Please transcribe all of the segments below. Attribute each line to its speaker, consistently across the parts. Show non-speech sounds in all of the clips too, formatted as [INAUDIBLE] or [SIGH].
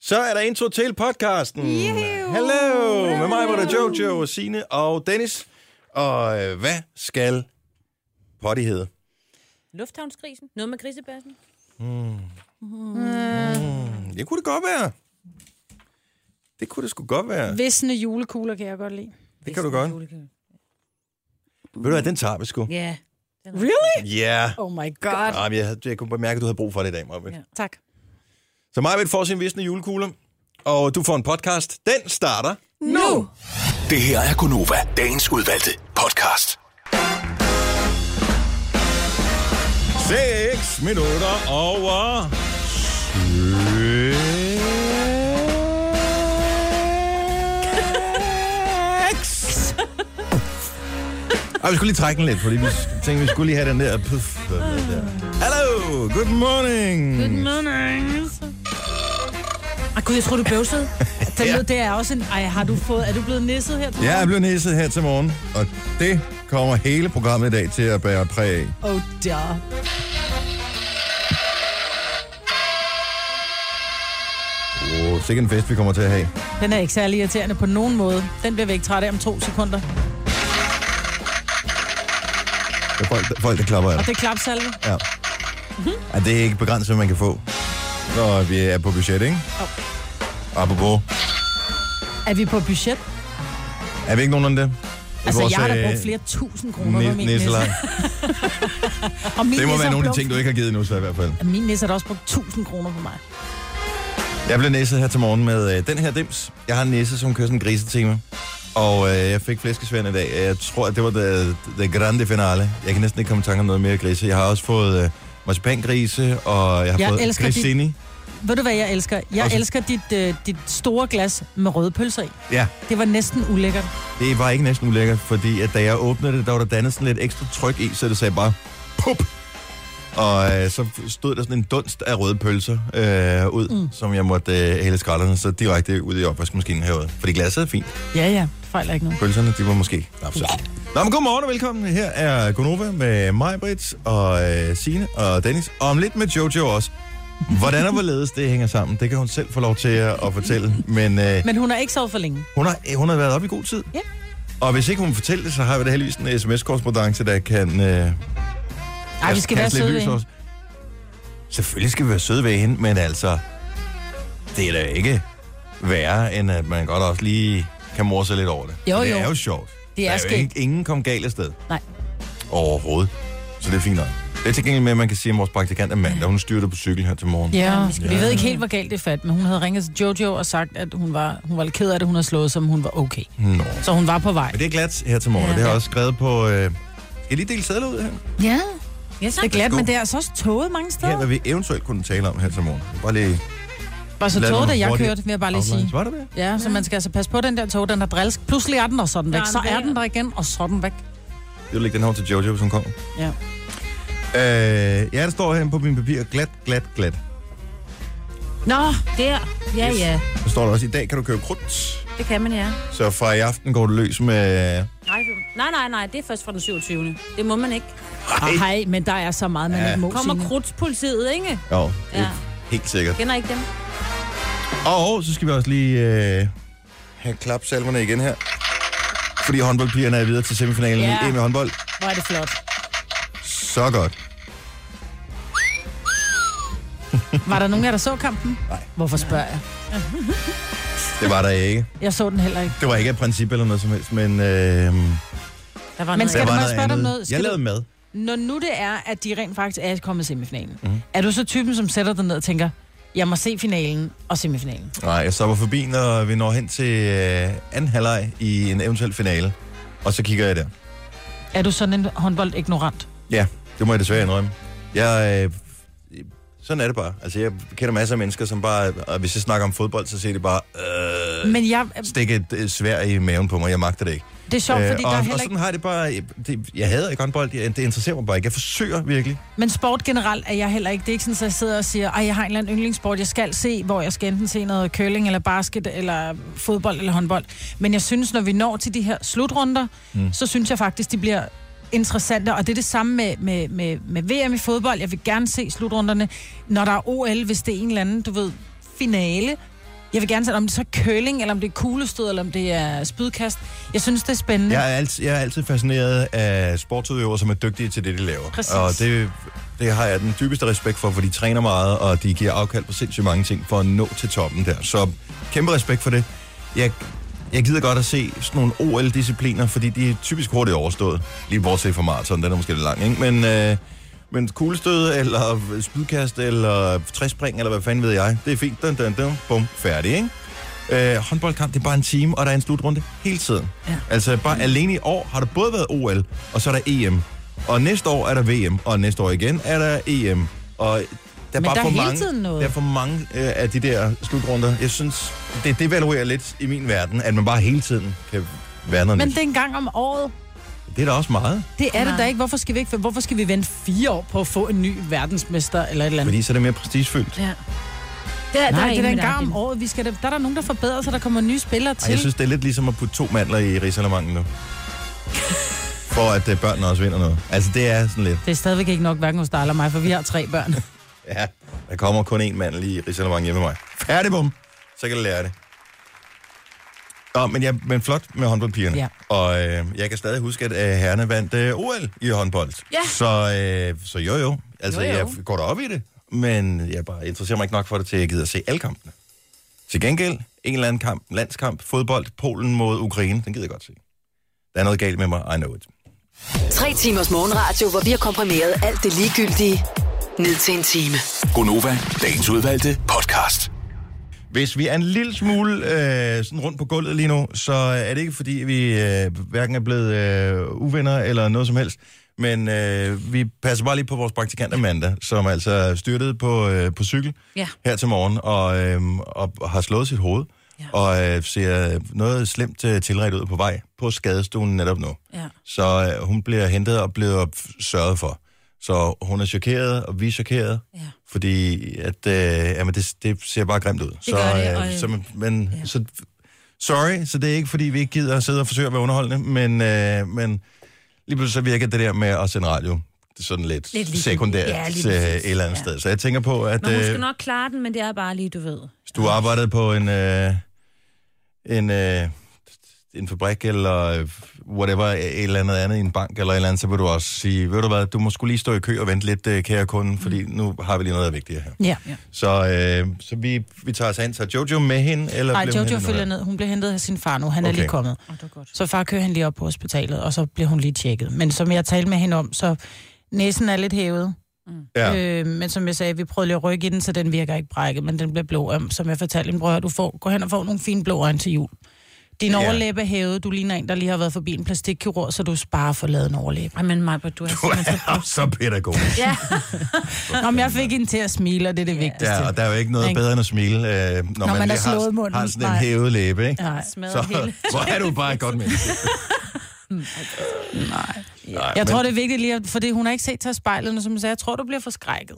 Speaker 1: Så er der intro til podcasten.
Speaker 2: Juhu!
Speaker 1: Hello! Med mig var der Jojo, og Signe og Dennis. Og øh, hvad skal potty hedde?
Speaker 3: Lufthavnsgrisen? Noget med grisebørsen?
Speaker 1: Det kunne det godt være. Det kunne det sgu godt være.
Speaker 2: Visne julekugler kan jeg godt lide.
Speaker 1: Det kan du godt. Ved du hvad, den tager vi sgu. Ja.
Speaker 3: Ja.
Speaker 2: Really?
Speaker 1: Yeah.
Speaker 2: Oh my god.
Speaker 1: Ah, men jeg, havde- jeg kunne bare mærke, at du havde brug for det i dag, Marvind.
Speaker 3: Ja.
Speaker 2: Tak.
Speaker 1: Så Marvind får sin visne julekugler, og du får en podcast. Den starter.
Speaker 2: Nu!
Speaker 4: Det her er Gunova, dagens udvalgte podcast.
Speaker 1: 6 minutter over... Seks. Ej, vi skulle lige trække den lidt, fordi vi tænkte, vi skulle lige have den der... Puff, den der. Hello, good morning. Good morning.
Speaker 2: Ej gud, jeg tror du [LAUGHS] bøvsede. Den ja. det er også en... Ej, har du fået... Er du blevet nisset her?
Speaker 1: Jeg er blevet næset her til morgen, og det kommer hele programmet i dag til at bære præg af.
Speaker 2: Oh, da.
Speaker 1: Oh, sikkert en fest, vi kommer til at have.
Speaker 2: Den er ikke særlig irriterende på nogen måde. Den bliver vi ikke træt af om to sekunder.
Speaker 1: Der er folk, der, folk, der klapper af
Speaker 2: Og
Speaker 1: dig.
Speaker 2: det er klapsalve.
Speaker 1: Ja.
Speaker 2: Mhm.
Speaker 1: ja. det er ikke begrænset, hvad man kan få, når vi er på budget, ikke? Oh. Apropos.
Speaker 2: Er vi på budget?
Speaker 1: Er vi ikke nogen af det?
Speaker 2: Altså,
Speaker 1: Vores,
Speaker 2: jeg har da
Speaker 1: øh,
Speaker 2: brugt flere tusind kroner på
Speaker 1: ni-
Speaker 2: min nisse.
Speaker 1: nisselej.
Speaker 2: Og min
Speaker 1: Det må
Speaker 2: [LAUGHS] nisse
Speaker 1: være nogle
Speaker 2: har
Speaker 1: af de
Speaker 2: brugt-
Speaker 1: ting, du ikke har givet nu, så i hvert fald.
Speaker 2: Min nisse har da også brugt tusind kroner på mig.
Speaker 1: Jeg blev næset her til morgen med øh, den her dims. Jeg har en næse, som kører sådan en grisetema. Og øh, jeg fik flæskesværende i dag. Jeg tror, at det var det, det grande finale. Jeg kan næsten ikke komme i tanke om noget mere grise. Jeg har også fået øh, marcipangrise, og jeg har
Speaker 2: Jeg
Speaker 1: fået
Speaker 2: elsker de-
Speaker 1: grissini.
Speaker 2: Ved du, hvad jeg elsker? Jeg
Speaker 1: Og så-
Speaker 2: elsker dit, øh, dit store glas med røde pølser i.
Speaker 1: Ja,
Speaker 2: Det var næsten ulækkert.
Speaker 1: det var ikke næsten ulækkert, fordi at da jeg åbnede det, der var der dannet sådan lidt ekstra tryk i, så det sagde bare pup. Og øh, så stod der sådan en dunst af røde pølser øh, ud, mm. som jeg måtte øh, hælde skralderne så direkte ud i opvaskemaskinen herude. Fordi glasset er fint.
Speaker 2: Ja, ja. Det fejler ikke noget.
Speaker 1: Pølserne, de var måske knap så fine. Nå, men godmorgen og velkommen. Her er Gonova med mig, Brits og øh, Signe og Dennis. Og om lidt med Jojo også. Hvordan og hvorledes det hænger sammen, det kan hun selv få lov til at at fortælle. Men øh,
Speaker 2: Men hun har ikke sovet for længe.
Speaker 1: hun, har, øh, hun har været op i god tid.
Speaker 2: Ja.
Speaker 1: Og hvis ikke hun fortæller det, så har vi da heldigvis en sms-korrespondence, der kan... Øh,
Speaker 2: Ej, vi skal være
Speaker 1: kaste lidt
Speaker 2: søde ved
Speaker 1: lys
Speaker 2: hende.
Speaker 1: også. Selvfølgelig skal vi være søde ved hende, men altså, det er da ikke værre, end at man godt også lige kan morse sig lidt over det.
Speaker 2: Jo,
Speaker 1: det
Speaker 2: jo.
Speaker 1: er jo sjovt.
Speaker 2: Det er
Speaker 1: Der jo
Speaker 2: skægt.
Speaker 1: ikke, ingen kom galt af sted.
Speaker 2: Nej.
Speaker 1: Overhovedet. Så det er fint nok. Det er til gengæld med, at man kan sige, at vores praktikant Amanda, hun styrte på cykel her til morgen.
Speaker 2: Ja,
Speaker 3: vi skal-
Speaker 2: vi ved ikke helt, hvor galt det er fat, men hun havde ringet til Jojo og sagt, at hun var, hun var lidt ked af det, hun havde slået, som hun var okay.
Speaker 1: Nå.
Speaker 2: Så hun var på vej.
Speaker 1: Men det er glat her til morgen, ja.
Speaker 3: Ja.
Speaker 1: og det har jeg også skrevet på... Øh... Skal jeg lige dele sædler ud her?
Speaker 2: Ja,
Speaker 3: Ja, så.
Speaker 2: det er glat,
Speaker 1: Værsgo.
Speaker 2: men det er altså også toget mange
Speaker 1: Her,
Speaker 2: steder.
Speaker 1: hvad vi eventuelt kunne tale om her til morgen. Bare lige...
Speaker 2: Var så
Speaker 1: lad
Speaker 2: toget,
Speaker 1: nogle
Speaker 2: da jeg
Speaker 1: hurtige
Speaker 2: kørte, vil jeg bare lige
Speaker 1: outlines.
Speaker 2: sige.
Speaker 1: Var det det?
Speaker 2: Ja, så man skal altså passe på den der tog, den er drilsk. Pludselig er den, og så er den væk.
Speaker 3: Der er
Speaker 2: Så
Speaker 3: den
Speaker 2: er
Speaker 3: væk.
Speaker 2: den der igen, og så er den væk.
Speaker 1: Jeg vil lægge den her over til Jojo, hvis hun kommer.
Speaker 2: Ja.
Speaker 1: Øh, ja, der står herinde på min papir, glat, glat, glat.
Speaker 3: Nå, der. Ja,
Speaker 1: Yes.
Speaker 3: ja.
Speaker 1: Der står der også, i dag kan du købe krudt,
Speaker 3: Det kan man, ja.
Speaker 1: så fra i aften går du løs med...
Speaker 3: Nej, nej, nej, nej. Det er først fra den 27. Det må man ikke.
Speaker 2: Hej, men der er så meget, man
Speaker 1: Ja.
Speaker 2: ikke må
Speaker 3: Kommer
Speaker 2: sige.
Speaker 3: krudtspolitiet, ikke?
Speaker 1: Jo, det er
Speaker 3: Ja.
Speaker 1: helt sikkert.
Speaker 3: Kender ikke dem?
Speaker 1: Og så skal vi også lige øh, have klapsalverne igen her. Fordi håndboldpigerne er videre til semifinalen
Speaker 2: Ja.
Speaker 1: i EM i håndbold.
Speaker 2: Hvor er det flot.
Speaker 1: Så godt.
Speaker 2: Var der nogen af jer, der så kampen? Nej. Hvorfor spørger jeg?
Speaker 1: Det var der ikke.
Speaker 2: Jeg så den heller ikke.
Speaker 1: Det var ikke af princip eller noget som helst, men øh, der
Speaker 3: Der var
Speaker 2: Men
Speaker 3: noget.
Speaker 2: skal-
Speaker 1: var
Speaker 2: du bare
Speaker 1: noget
Speaker 2: spørge dig om
Speaker 1: andet.
Speaker 2: noget? Skal
Speaker 1: Jeg
Speaker 2: du-
Speaker 1: lavede mad.
Speaker 2: Når nu det er, at de rent faktisk er kommet i semifinalen,
Speaker 1: Mhm.
Speaker 2: mm. er du så typen, som sætter dig ned og tænker, jeg må se finalen og semifinalen?
Speaker 1: Nej, jeg stopper forbi, når vi når hen til øh, anden halvleg i en eventuel finale. Og så kigger jeg der.
Speaker 2: Er du sådan en håndboldignorant?
Speaker 1: Ja, det må jeg desværre indrømme. Jeg, øh, sådan er det bare. Altså, jeg kender masser af mennesker, som bare... Og hvis jeg snakker om fodbold, så siger det bare... Øh,
Speaker 2: Men jeg,
Speaker 1: Stik et øh, svær i maven på mig. Jeg magter det ikke.
Speaker 2: det er sjovt, fordi
Speaker 1: Øh, og,
Speaker 2: der er
Speaker 1: og
Speaker 2: heller
Speaker 1: sådan
Speaker 2: ikke...
Speaker 1: har jeg det bare... Jeg, det, jeg hader ikke håndbold. Jeg, det interesserer mig bare ikke. Jeg forsøger virkelig.
Speaker 2: Men sport generelt er jeg heller ikke. Det er ikke sådan, at jeg sidder og siger, at jeg har en eller anden yndlingssport, jeg skal se, hvor jeg skal enten se noget curling eller basket eller fodbold eller håndbold. Men jeg synes, når vi når til de her slutrunder, mm. så synes jeg faktisk, de bliver interessante, og det er det samme med, med, med, med VM i fodbold. Jeg vil gerne se slutrunderne. Når der er OL, hvis det er en eller anden, du ved, finale, Jeg vil gerne se, om det så er curling, eller om det er kuglestød, eller om det er spydkast. Jeg synes, det er spændende.
Speaker 1: Jeg er, altid, jeg er altid fascineret af sportsudøvere, som er dygtige til det, de laver.
Speaker 2: Præcis.
Speaker 1: Og det, det har jeg den dybeste respekt for, for de træner meget, og de giver afkald på sindssygt mange ting for at nå til toppen der. Så kæmpe respekt for det. Jeg, jeg gider godt at se sådan nogle OL-discipliner, fordi de er typisk hurtigt overstået. Lige bortset fra maraton, den er måske lidt lang, ikke? Men, øh, men kuglestød, eller spydkast, eller træspring, eller hvad fanden ved jeg. Det er fint. Dun, dun, dun. Bum. Færdig, ikke? Øh, håndboldkamp, det er bare en time, og der er en slutrunde hele tiden. Ja.
Speaker 2: Ja.
Speaker 1: Altså bare alene i år har der både været OL, og så er der EM. Og næste år er der VM, og næste år igen er der EM. Og der er
Speaker 2: Men
Speaker 1: bare
Speaker 2: der er
Speaker 1: for
Speaker 2: hele
Speaker 1: mange,
Speaker 2: tiden noget.
Speaker 1: Der er for mange øh, af de der slutrunder. Jeg synes, det devaluerer lidt i min verden, at man bare hele tiden kan være noget Men
Speaker 2: Men det er en gang om året.
Speaker 1: Det er da også meget,
Speaker 2: Det er det
Speaker 3: Nej.
Speaker 2: da ikke. Hvorfor skal vi ikke? Hvorfor skal vi vente fire år på at få en ny verdensmester eller et eller andet?
Speaker 1: fordi så er det mere prestigefyldt.
Speaker 3: Ja. Det er,
Speaker 2: Nej, det er da
Speaker 3: ingen
Speaker 2: en
Speaker 3: med dig,
Speaker 2: gang om
Speaker 3: Dennis.
Speaker 2: året. Vi skal da, der er der nogen, der forbedrer sig. Der kommer nye spillere
Speaker 1: Ej,
Speaker 2: til.
Speaker 1: jeg synes, det er lidt ligesom at putte to mandler i risalamangen
Speaker 2: [LAUGHS]
Speaker 1: nu. For at øh, børnene også vinder noget. Altså, det er sådan lidt...
Speaker 2: Det er stadigvæk ikke nok, hverken hos dig eller mig, for vi har tre børn.
Speaker 1: Ja, der kommer kun én mand lige i Rigsalermang hjemme med mig. Færdig, bum! Så kan du lære det. Nå, men, ja, men flot med håndboldpigerne.
Speaker 2: Ja.
Speaker 1: Og øh, jeg kan stadig huske, at øh, herrerne vandt øh, OL i håndbold.
Speaker 3: Ja.
Speaker 1: Så, øh, så jo jo. Altså,
Speaker 3: Jo,
Speaker 1: jo,
Speaker 3: jo.
Speaker 1: jo. jeg går da op i det. Men jeg bare interesserer mig ikke nok for det, til at jeg gider at se alle kampene. Til gengæld, en eller anden kamp, landskamp, fodbold, Polen mod Ukraine, den gider jeg godt se. Der er noget galt med mig, I know it.
Speaker 5: Tre timers morgenradio, hvor vi har komprimeret alt det ligegyldige ned til en time.
Speaker 4: Gonova, dagens udvalgte podcast.
Speaker 1: Hvis vi er en lille smule øh, sådan rundt på gulvet lige nu, så er det ikke fordi, vi øh, hverken er blevet øh, uvenner eller noget som helst. Men øh, vi passer bare lige på vores praktikant Amanda, som altså styrtede på, øh, på cykel
Speaker 3: Ja.
Speaker 1: her til morgen og, øh, og har slået sit hoved. Ja. Og øh, ser noget slemt øh, tilrettet ud på vej på skadestuen netop nu.
Speaker 3: Ja.
Speaker 1: Så øh, hun bliver hentet og bliver sørget for. Så hun er chokeret, og vi er chokeret,
Speaker 3: Ja.
Speaker 1: fordi at, øh, jamen det, det ser bare grimt ud. så,
Speaker 3: gør det, og-
Speaker 1: øh, så, man- men, ja. så, sorry, så det er ikke, fordi vi ikke gider at sidde og forsøge at være underholdende, men, øh, men lige pludselig så virker det der med at sende radio sådan lidt,
Speaker 3: Lidt
Speaker 1: lidt
Speaker 3: ligegyldigt.
Speaker 1: sekundært
Speaker 3: Ja,
Speaker 1: ja,
Speaker 3: lige
Speaker 1: til
Speaker 3: præcis.
Speaker 1: et eller andet ja.
Speaker 3: Ja.
Speaker 1: sted. Så jeg tænker på, at
Speaker 3: Men hun
Speaker 1: øh,
Speaker 3: skal nok klare den, men det er bare lige, du ved.
Speaker 1: hvis du arbejdede på en, øh, en, øh, en fabrik eller whatever, et eller andet andet i en bank eller et eller andet, så vil du også sige, ved du hvad, du må skulle lige stå i kø og vente lidt, øh, kære kunde, fordi nu har vi lige noget, der er vigtigere her.
Speaker 2: [LAUGHS] Mm. ja.
Speaker 1: Så, øh, så vi, vi tager os an. Så Jojo med hende? Eller
Speaker 2: Nej,
Speaker 1: blev hun
Speaker 2: Jojo
Speaker 1: hentet nu
Speaker 2: følger
Speaker 1: her?
Speaker 2: ned. Hun bliver hentet af sin far nu. Han okay. er
Speaker 1: Okay.
Speaker 2: lige kommet.
Speaker 3: Åh, det var godt.
Speaker 2: Så far kører han lige op på hospitalet, og så bliver hun lige tjekket. Men som jeg talte med hende om, så næsen er lidt hævet.
Speaker 1: Ja. [LAUGHS] Øh.
Speaker 2: Øh, men som jeg sagde, vi prøvede lige at rykke i den, så den virker ikke brækket, men den bliver blå. Øhm, Som jeg fortalte min bror, du får, gå hen og få nogle fine blå øjne til jul. Din
Speaker 1: Ja.
Speaker 2: overlæbe er hævet. Du ligner en, der lige har været forbi en plastikkirurg, så du sparer for lavet en
Speaker 1: [LAUGHS]
Speaker 2: overlæbe.
Speaker 3: Ej, men Maja, du er simpelthen så
Speaker 1: Ja, så pædagog.
Speaker 2: [LAUGHS]
Speaker 3: Ja,
Speaker 2: Nå, men jeg fik en til at smile, og det er det
Speaker 3: Ja.
Speaker 2: vigtigste.
Speaker 1: Ja, og der er jo ikke noget
Speaker 2: Ikke?
Speaker 1: bedre end at smile, øh, når, når man,
Speaker 2: man
Speaker 1: lige
Speaker 2: har slået
Speaker 1: har,
Speaker 2: munden.
Speaker 1: har sådan en
Speaker 2: Nej.
Speaker 1: hævet læbe, ikke?
Speaker 2: Nej.
Speaker 3: [LAUGHS] smadret
Speaker 1: Så
Speaker 3: hele.
Speaker 1: [LAUGHS] hvor er du bare et godt menneske. Nej. Nej
Speaker 2: Jeg tror, det er vigtigt lige, at- fordi hun har ikke set til spejlet, og som jeg sagde, jeg tror, du bliver forskrækket.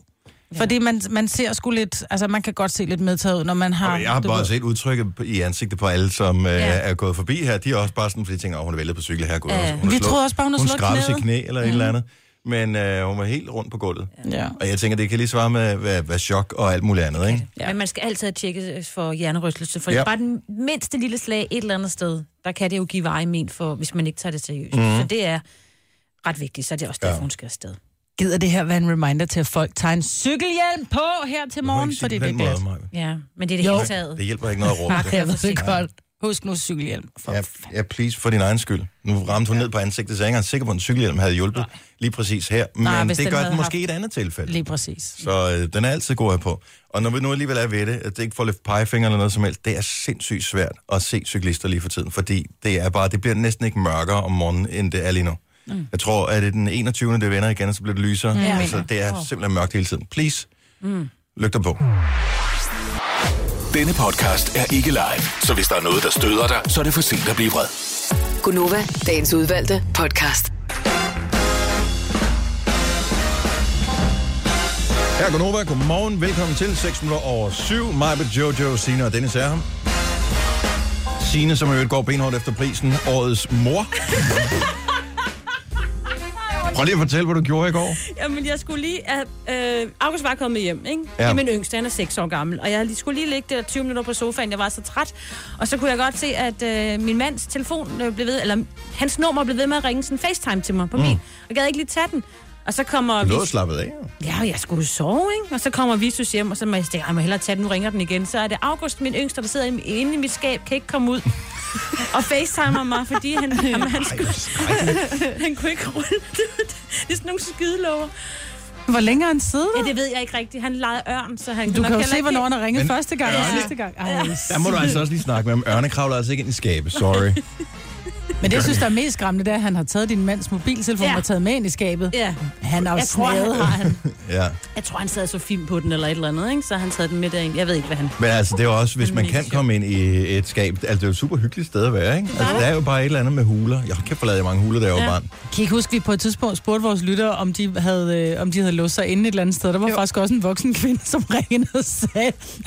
Speaker 2: Fordi man, man ser sgu lidt, altså man kan godt se lidt medtaget ud, når man har...
Speaker 1: Og jeg har
Speaker 2: du
Speaker 1: bare
Speaker 2: ved-
Speaker 1: set udtrykket på- i ansigtet på alle, som øh,
Speaker 3: Ja.
Speaker 1: er gået forbi her. De er også bare sådan, fordi de tænker, at hun er væltet på cykel her. Gud,
Speaker 3: Ja.
Speaker 1: hun er
Speaker 2: Vi
Speaker 1: slået-
Speaker 2: troede også bare, hun havde
Speaker 1: Hun
Speaker 2: slået
Speaker 1: skrabede sit
Speaker 2: knæet.
Speaker 1: knæ
Speaker 2: Mm.
Speaker 1: eller et eller andet. Men øh, hun var helt rundt på gulvet.
Speaker 2: Ja.
Speaker 1: Og jeg tænker, det kan lige svare med, hvad, hvad chok og alt muligt andet, ikke?
Speaker 3: Ja. Men man skal altid tjekke for hjernerystelse, for
Speaker 1: Ja.
Speaker 3: ja. bare den mindste lille slag et eller andet sted, der kan det jo give veje men for, hvis man ikke tager det seriøst. Mm. Så det er ret vigtigt, så det er også derfor, hun skal afsted.
Speaker 2: Gider det her være en reminder til, at folk tager en cykelhjelm på her til
Speaker 1: Du må
Speaker 2: morgen?
Speaker 1: ikke sige
Speaker 2: Fordi
Speaker 1: på
Speaker 2: det er
Speaker 1: den
Speaker 2: glas.
Speaker 1: måde, Maja.
Speaker 3: Ja, men det er det
Speaker 2: Jo.
Speaker 3: hele taget.
Speaker 1: Det hjælper ikke noget at råbe det.
Speaker 2: Nej, jeg ved det godt. Husk nu cykelhjelm. For
Speaker 1: Ja, ja, please, for din egen skyld. Nu ramte hun ja. ned på ansigtet, så jeg er ikke engang sikker på, at en cykelhjelm havde hjulpet Nej. lige præcis her. Men
Speaker 2: Nej,
Speaker 1: Nej,
Speaker 2: hvis
Speaker 1: det
Speaker 2: den
Speaker 1: gør
Speaker 2: havde
Speaker 1: den måske i
Speaker 2: haft-
Speaker 1: et andet tilfælde.
Speaker 2: Lige præcis.
Speaker 1: Så øh, den er altid god her på. Og når vi nu alligevel er ved det, at det ikke får løft pegefinger eller noget som helst, det er sindssygt svært at se cyklister lige for tiden, fordi det er bare, det bliver næsten ikke mørkere om morgenen, end det er lige nu. Mm. Jeg tror, at det er den 21. det vender igen, og så bliver det lysere. Mm. Altså, det er simpelthen mørkt hele tiden. Please, mm. lygter på.
Speaker 4: Denne podcast er ikke live, så hvis der er noget, der støder dig, så er det for sent at blive vred.
Speaker 5: Gunova, dagens udvalgte podcast.
Speaker 1: Her er Gunova. Godmorgen. Velkommen til 6 minutter over 7. Majbe, Jojo, Sina og Dennis er her. Sine, [LAUGHS] som i øvrigt går benhårdt efter prisen, årets mor. Prøv lige at fortælle, hvad du gjorde i går.
Speaker 3: Jamen, jeg skulle lige... At, øh, August var kommet hjem, ikke?
Speaker 1: Ja.
Speaker 3: Ja. Det er min yngste, han er 6 år gammel. Og jeg lige- skulle lige ligge der 20 minutter på sofaen, jeg var så træt. Og så kunne jeg godt se, at øh, min mands telefon øh, blev ved... Eller hans nummer blev ved med at ringe sådan FaceTime til mig på mm. min. Og gad ikke lige tage den. Og så kommer...
Speaker 1: Du lå
Speaker 3: Vis-
Speaker 1: og slappet af.
Speaker 3: Ja, og jeg skulle jo sove, ikke? Og så kommer Visus hjem, og så må jeg tænke, "Ej, jeg må hellere tage den, nu ringer den igen. Så er det August, min yngste, der sidder inde- inde i mit skab, kan ikke komme ud. og facetimer mig, fordi han, jamen, han, skulle, [LAUGHS] han kunne ikke rulle det. ud. Det er sådan nogle skidelover.
Speaker 2: Hvor længe har han siddet
Speaker 3: Ja,
Speaker 2: der?
Speaker 3: det ved jeg ikke rigtigt. Han legede ørn, så han
Speaker 2: Du
Speaker 3: nok
Speaker 2: kan jo
Speaker 3: heller
Speaker 2: se,
Speaker 3: ikke-
Speaker 2: hvornår han har ringet
Speaker 1: Men-
Speaker 2: første gang og
Speaker 1: Ja.
Speaker 2: sidste gang. Ej,
Speaker 1: Der må du altså også lige snakke med ham. Ørne kravler altså ikke ind i skabet, sorry.
Speaker 2: Men det, jeg synes, der er mest skræmmende, det er, at han har taget din mands mobiltelefon
Speaker 3: Ja.
Speaker 2: og taget med ind i skabet.
Speaker 3: Ja.
Speaker 2: Han er jo
Speaker 3: Jeg tror, han
Speaker 2: snadet.
Speaker 3: har han.
Speaker 1: [LAUGHS] Ja.
Speaker 3: Jeg tror, han sad så film på den eller et eller andet, ikke? Så han taget den med derind. Jeg ved ikke, hvad han...
Speaker 1: Men altså, det er jo også, hvis
Speaker 3: Men
Speaker 1: man
Speaker 3: mega
Speaker 1: kan
Speaker 3: sjovt.
Speaker 1: komme ind i et skab, altså det er jo et super hyggeligt sted at være, ikke? Altså, der er jo bare et eller andet med huler. Jeg kan forlade mange huler, der jeg var
Speaker 3: Ja.
Speaker 1: barn.
Speaker 2: Kan I ikke huske, at vi på et tidspunkt spurgte vores lyttere, om de havde, øh, om de havde låst sig inde et eller andet sted. Der var jo. faktisk også en voksen kvinde, som ringede og sagde,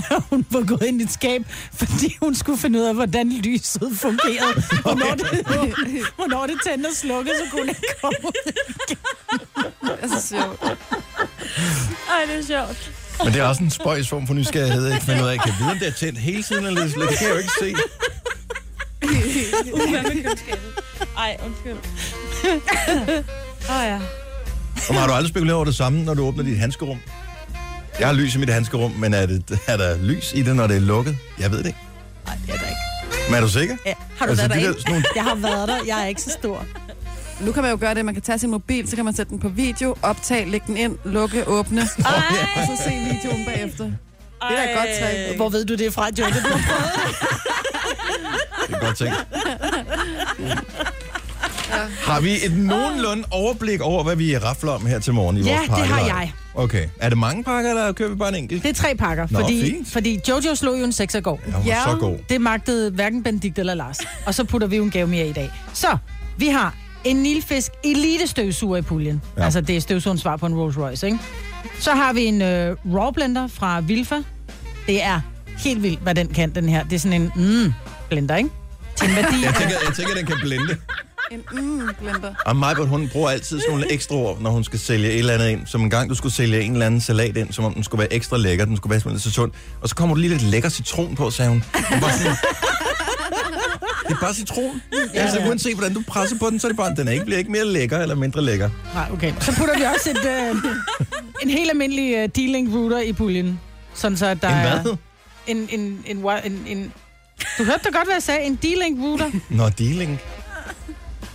Speaker 2: at hun var gået ind i et skab, fordi hun skulle finde ud af, hvordan lyset
Speaker 1: [LAUGHS]
Speaker 2: fungerede. Hvornår det, hvornår det tændte og slukkede, så kunne hun ikke komme ud.
Speaker 6: Det er så sjovt.
Speaker 3: Ej, det er [LAUGHS] sjovt.
Speaker 1: Men det er også en spøjs form for nysgerrighed, ikke? Finde ud af, kan jeg vide, om det er tændt hele tiden, eller det kan jeg jo ikke se.
Speaker 3: Uha, med køleskabet. Ej, undskyld. [LAUGHS] Åh oh, ja.
Speaker 1: Og har du aldrig spekuleret over det samme, når du åbner dit handskerum? Jeg har lys i mit handskerum, men er, det, er der lys i det, når det er lukket? Jeg ved det ikke.
Speaker 2: Nej, det er der ikke.
Speaker 1: Men er du sikker?
Speaker 2: Ja.
Speaker 3: Har du altså, været
Speaker 1: de der,
Speaker 3: derinde?
Speaker 1: sådan nogle,
Speaker 2: Jeg har været der. Jeg er ikke så stor.
Speaker 6: Nu kan man jo gøre det, man kan tage sin mobil, så kan man sætte den på video, optage, lægge den ind, lukke, åbne, og så se videoen bagefter. Det er da et godt trick.
Speaker 2: Hvor ved du det fra, Jojo? Det er
Speaker 1: det er godt tænkt. Har vi et nogenlunde overblik over, hvad vi rafler om her til morgen i
Speaker 2: Ja,
Speaker 1: vores
Speaker 2: det
Speaker 1: pakke?
Speaker 2: har jeg.
Speaker 1: Okay. Er det mange pakker, eller kører vi bare en enkelt?
Speaker 2: det er tre pakker,
Speaker 1: Nå,
Speaker 2: fordi,
Speaker 1: fint.
Speaker 2: fordi Jojo slog jo en sekser i går.
Speaker 1: Ja, hun er så god.
Speaker 2: Det magtede hverken Benedikt eller Lars. Og så putter vi jo en gave mere i dag. Så, vi har en nilfisk elite støvsuger i puljen.
Speaker 1: Ja.
Speaker 2: Ja. Altså, det er støvsugerens svar på en Rolls Royce, ikke? Så har vi en øh, raw blender fra Vilfa. Det er helt vildt, hvad den kan, den her. Det er sådan en mm, blender, ikke? Til en
Speaker 1: [LAUGHS]
Speaker 2: værdi
Speaker 1: Jeg
Speaker 2: af-
Speaker 1: tænker, jeg tænker, den kan blinde.
Speaker 6: En mm, blender.
Speaker 1: Og Majbert, hun bruger altid sådan nogle ekstra ord, når hun skal sælge et eller andet ind. Som en gang, du skulle sælge en eller anden salat ind, som om den skulle være ekstra lækker, den skulle være simpelthen så sund. Og så kommer du lige lidt lækker citron på, sagde hun. Hun var sådan, det er bare citron. Ja, altså,
Speaker 2: ja.
Speaker 1: uanset hvordan du presser på den, så er det bare, den er ikke, bliver ikke mere lækker eller mindre lækker.
Speaker 2: Nej, okay. Så putter vi også et, øh, en helt almindelig øh, D-Link router i puljen. Sådan så, at der
Speaker 1: En
Speaker 2: er...
Speaker 1: hvad?
Speaker 2: En, en, en, wi- en, en, du hørte da godt, hvad jeg sagde. En D-Link router.
Speaker 1: Nå, D-Link.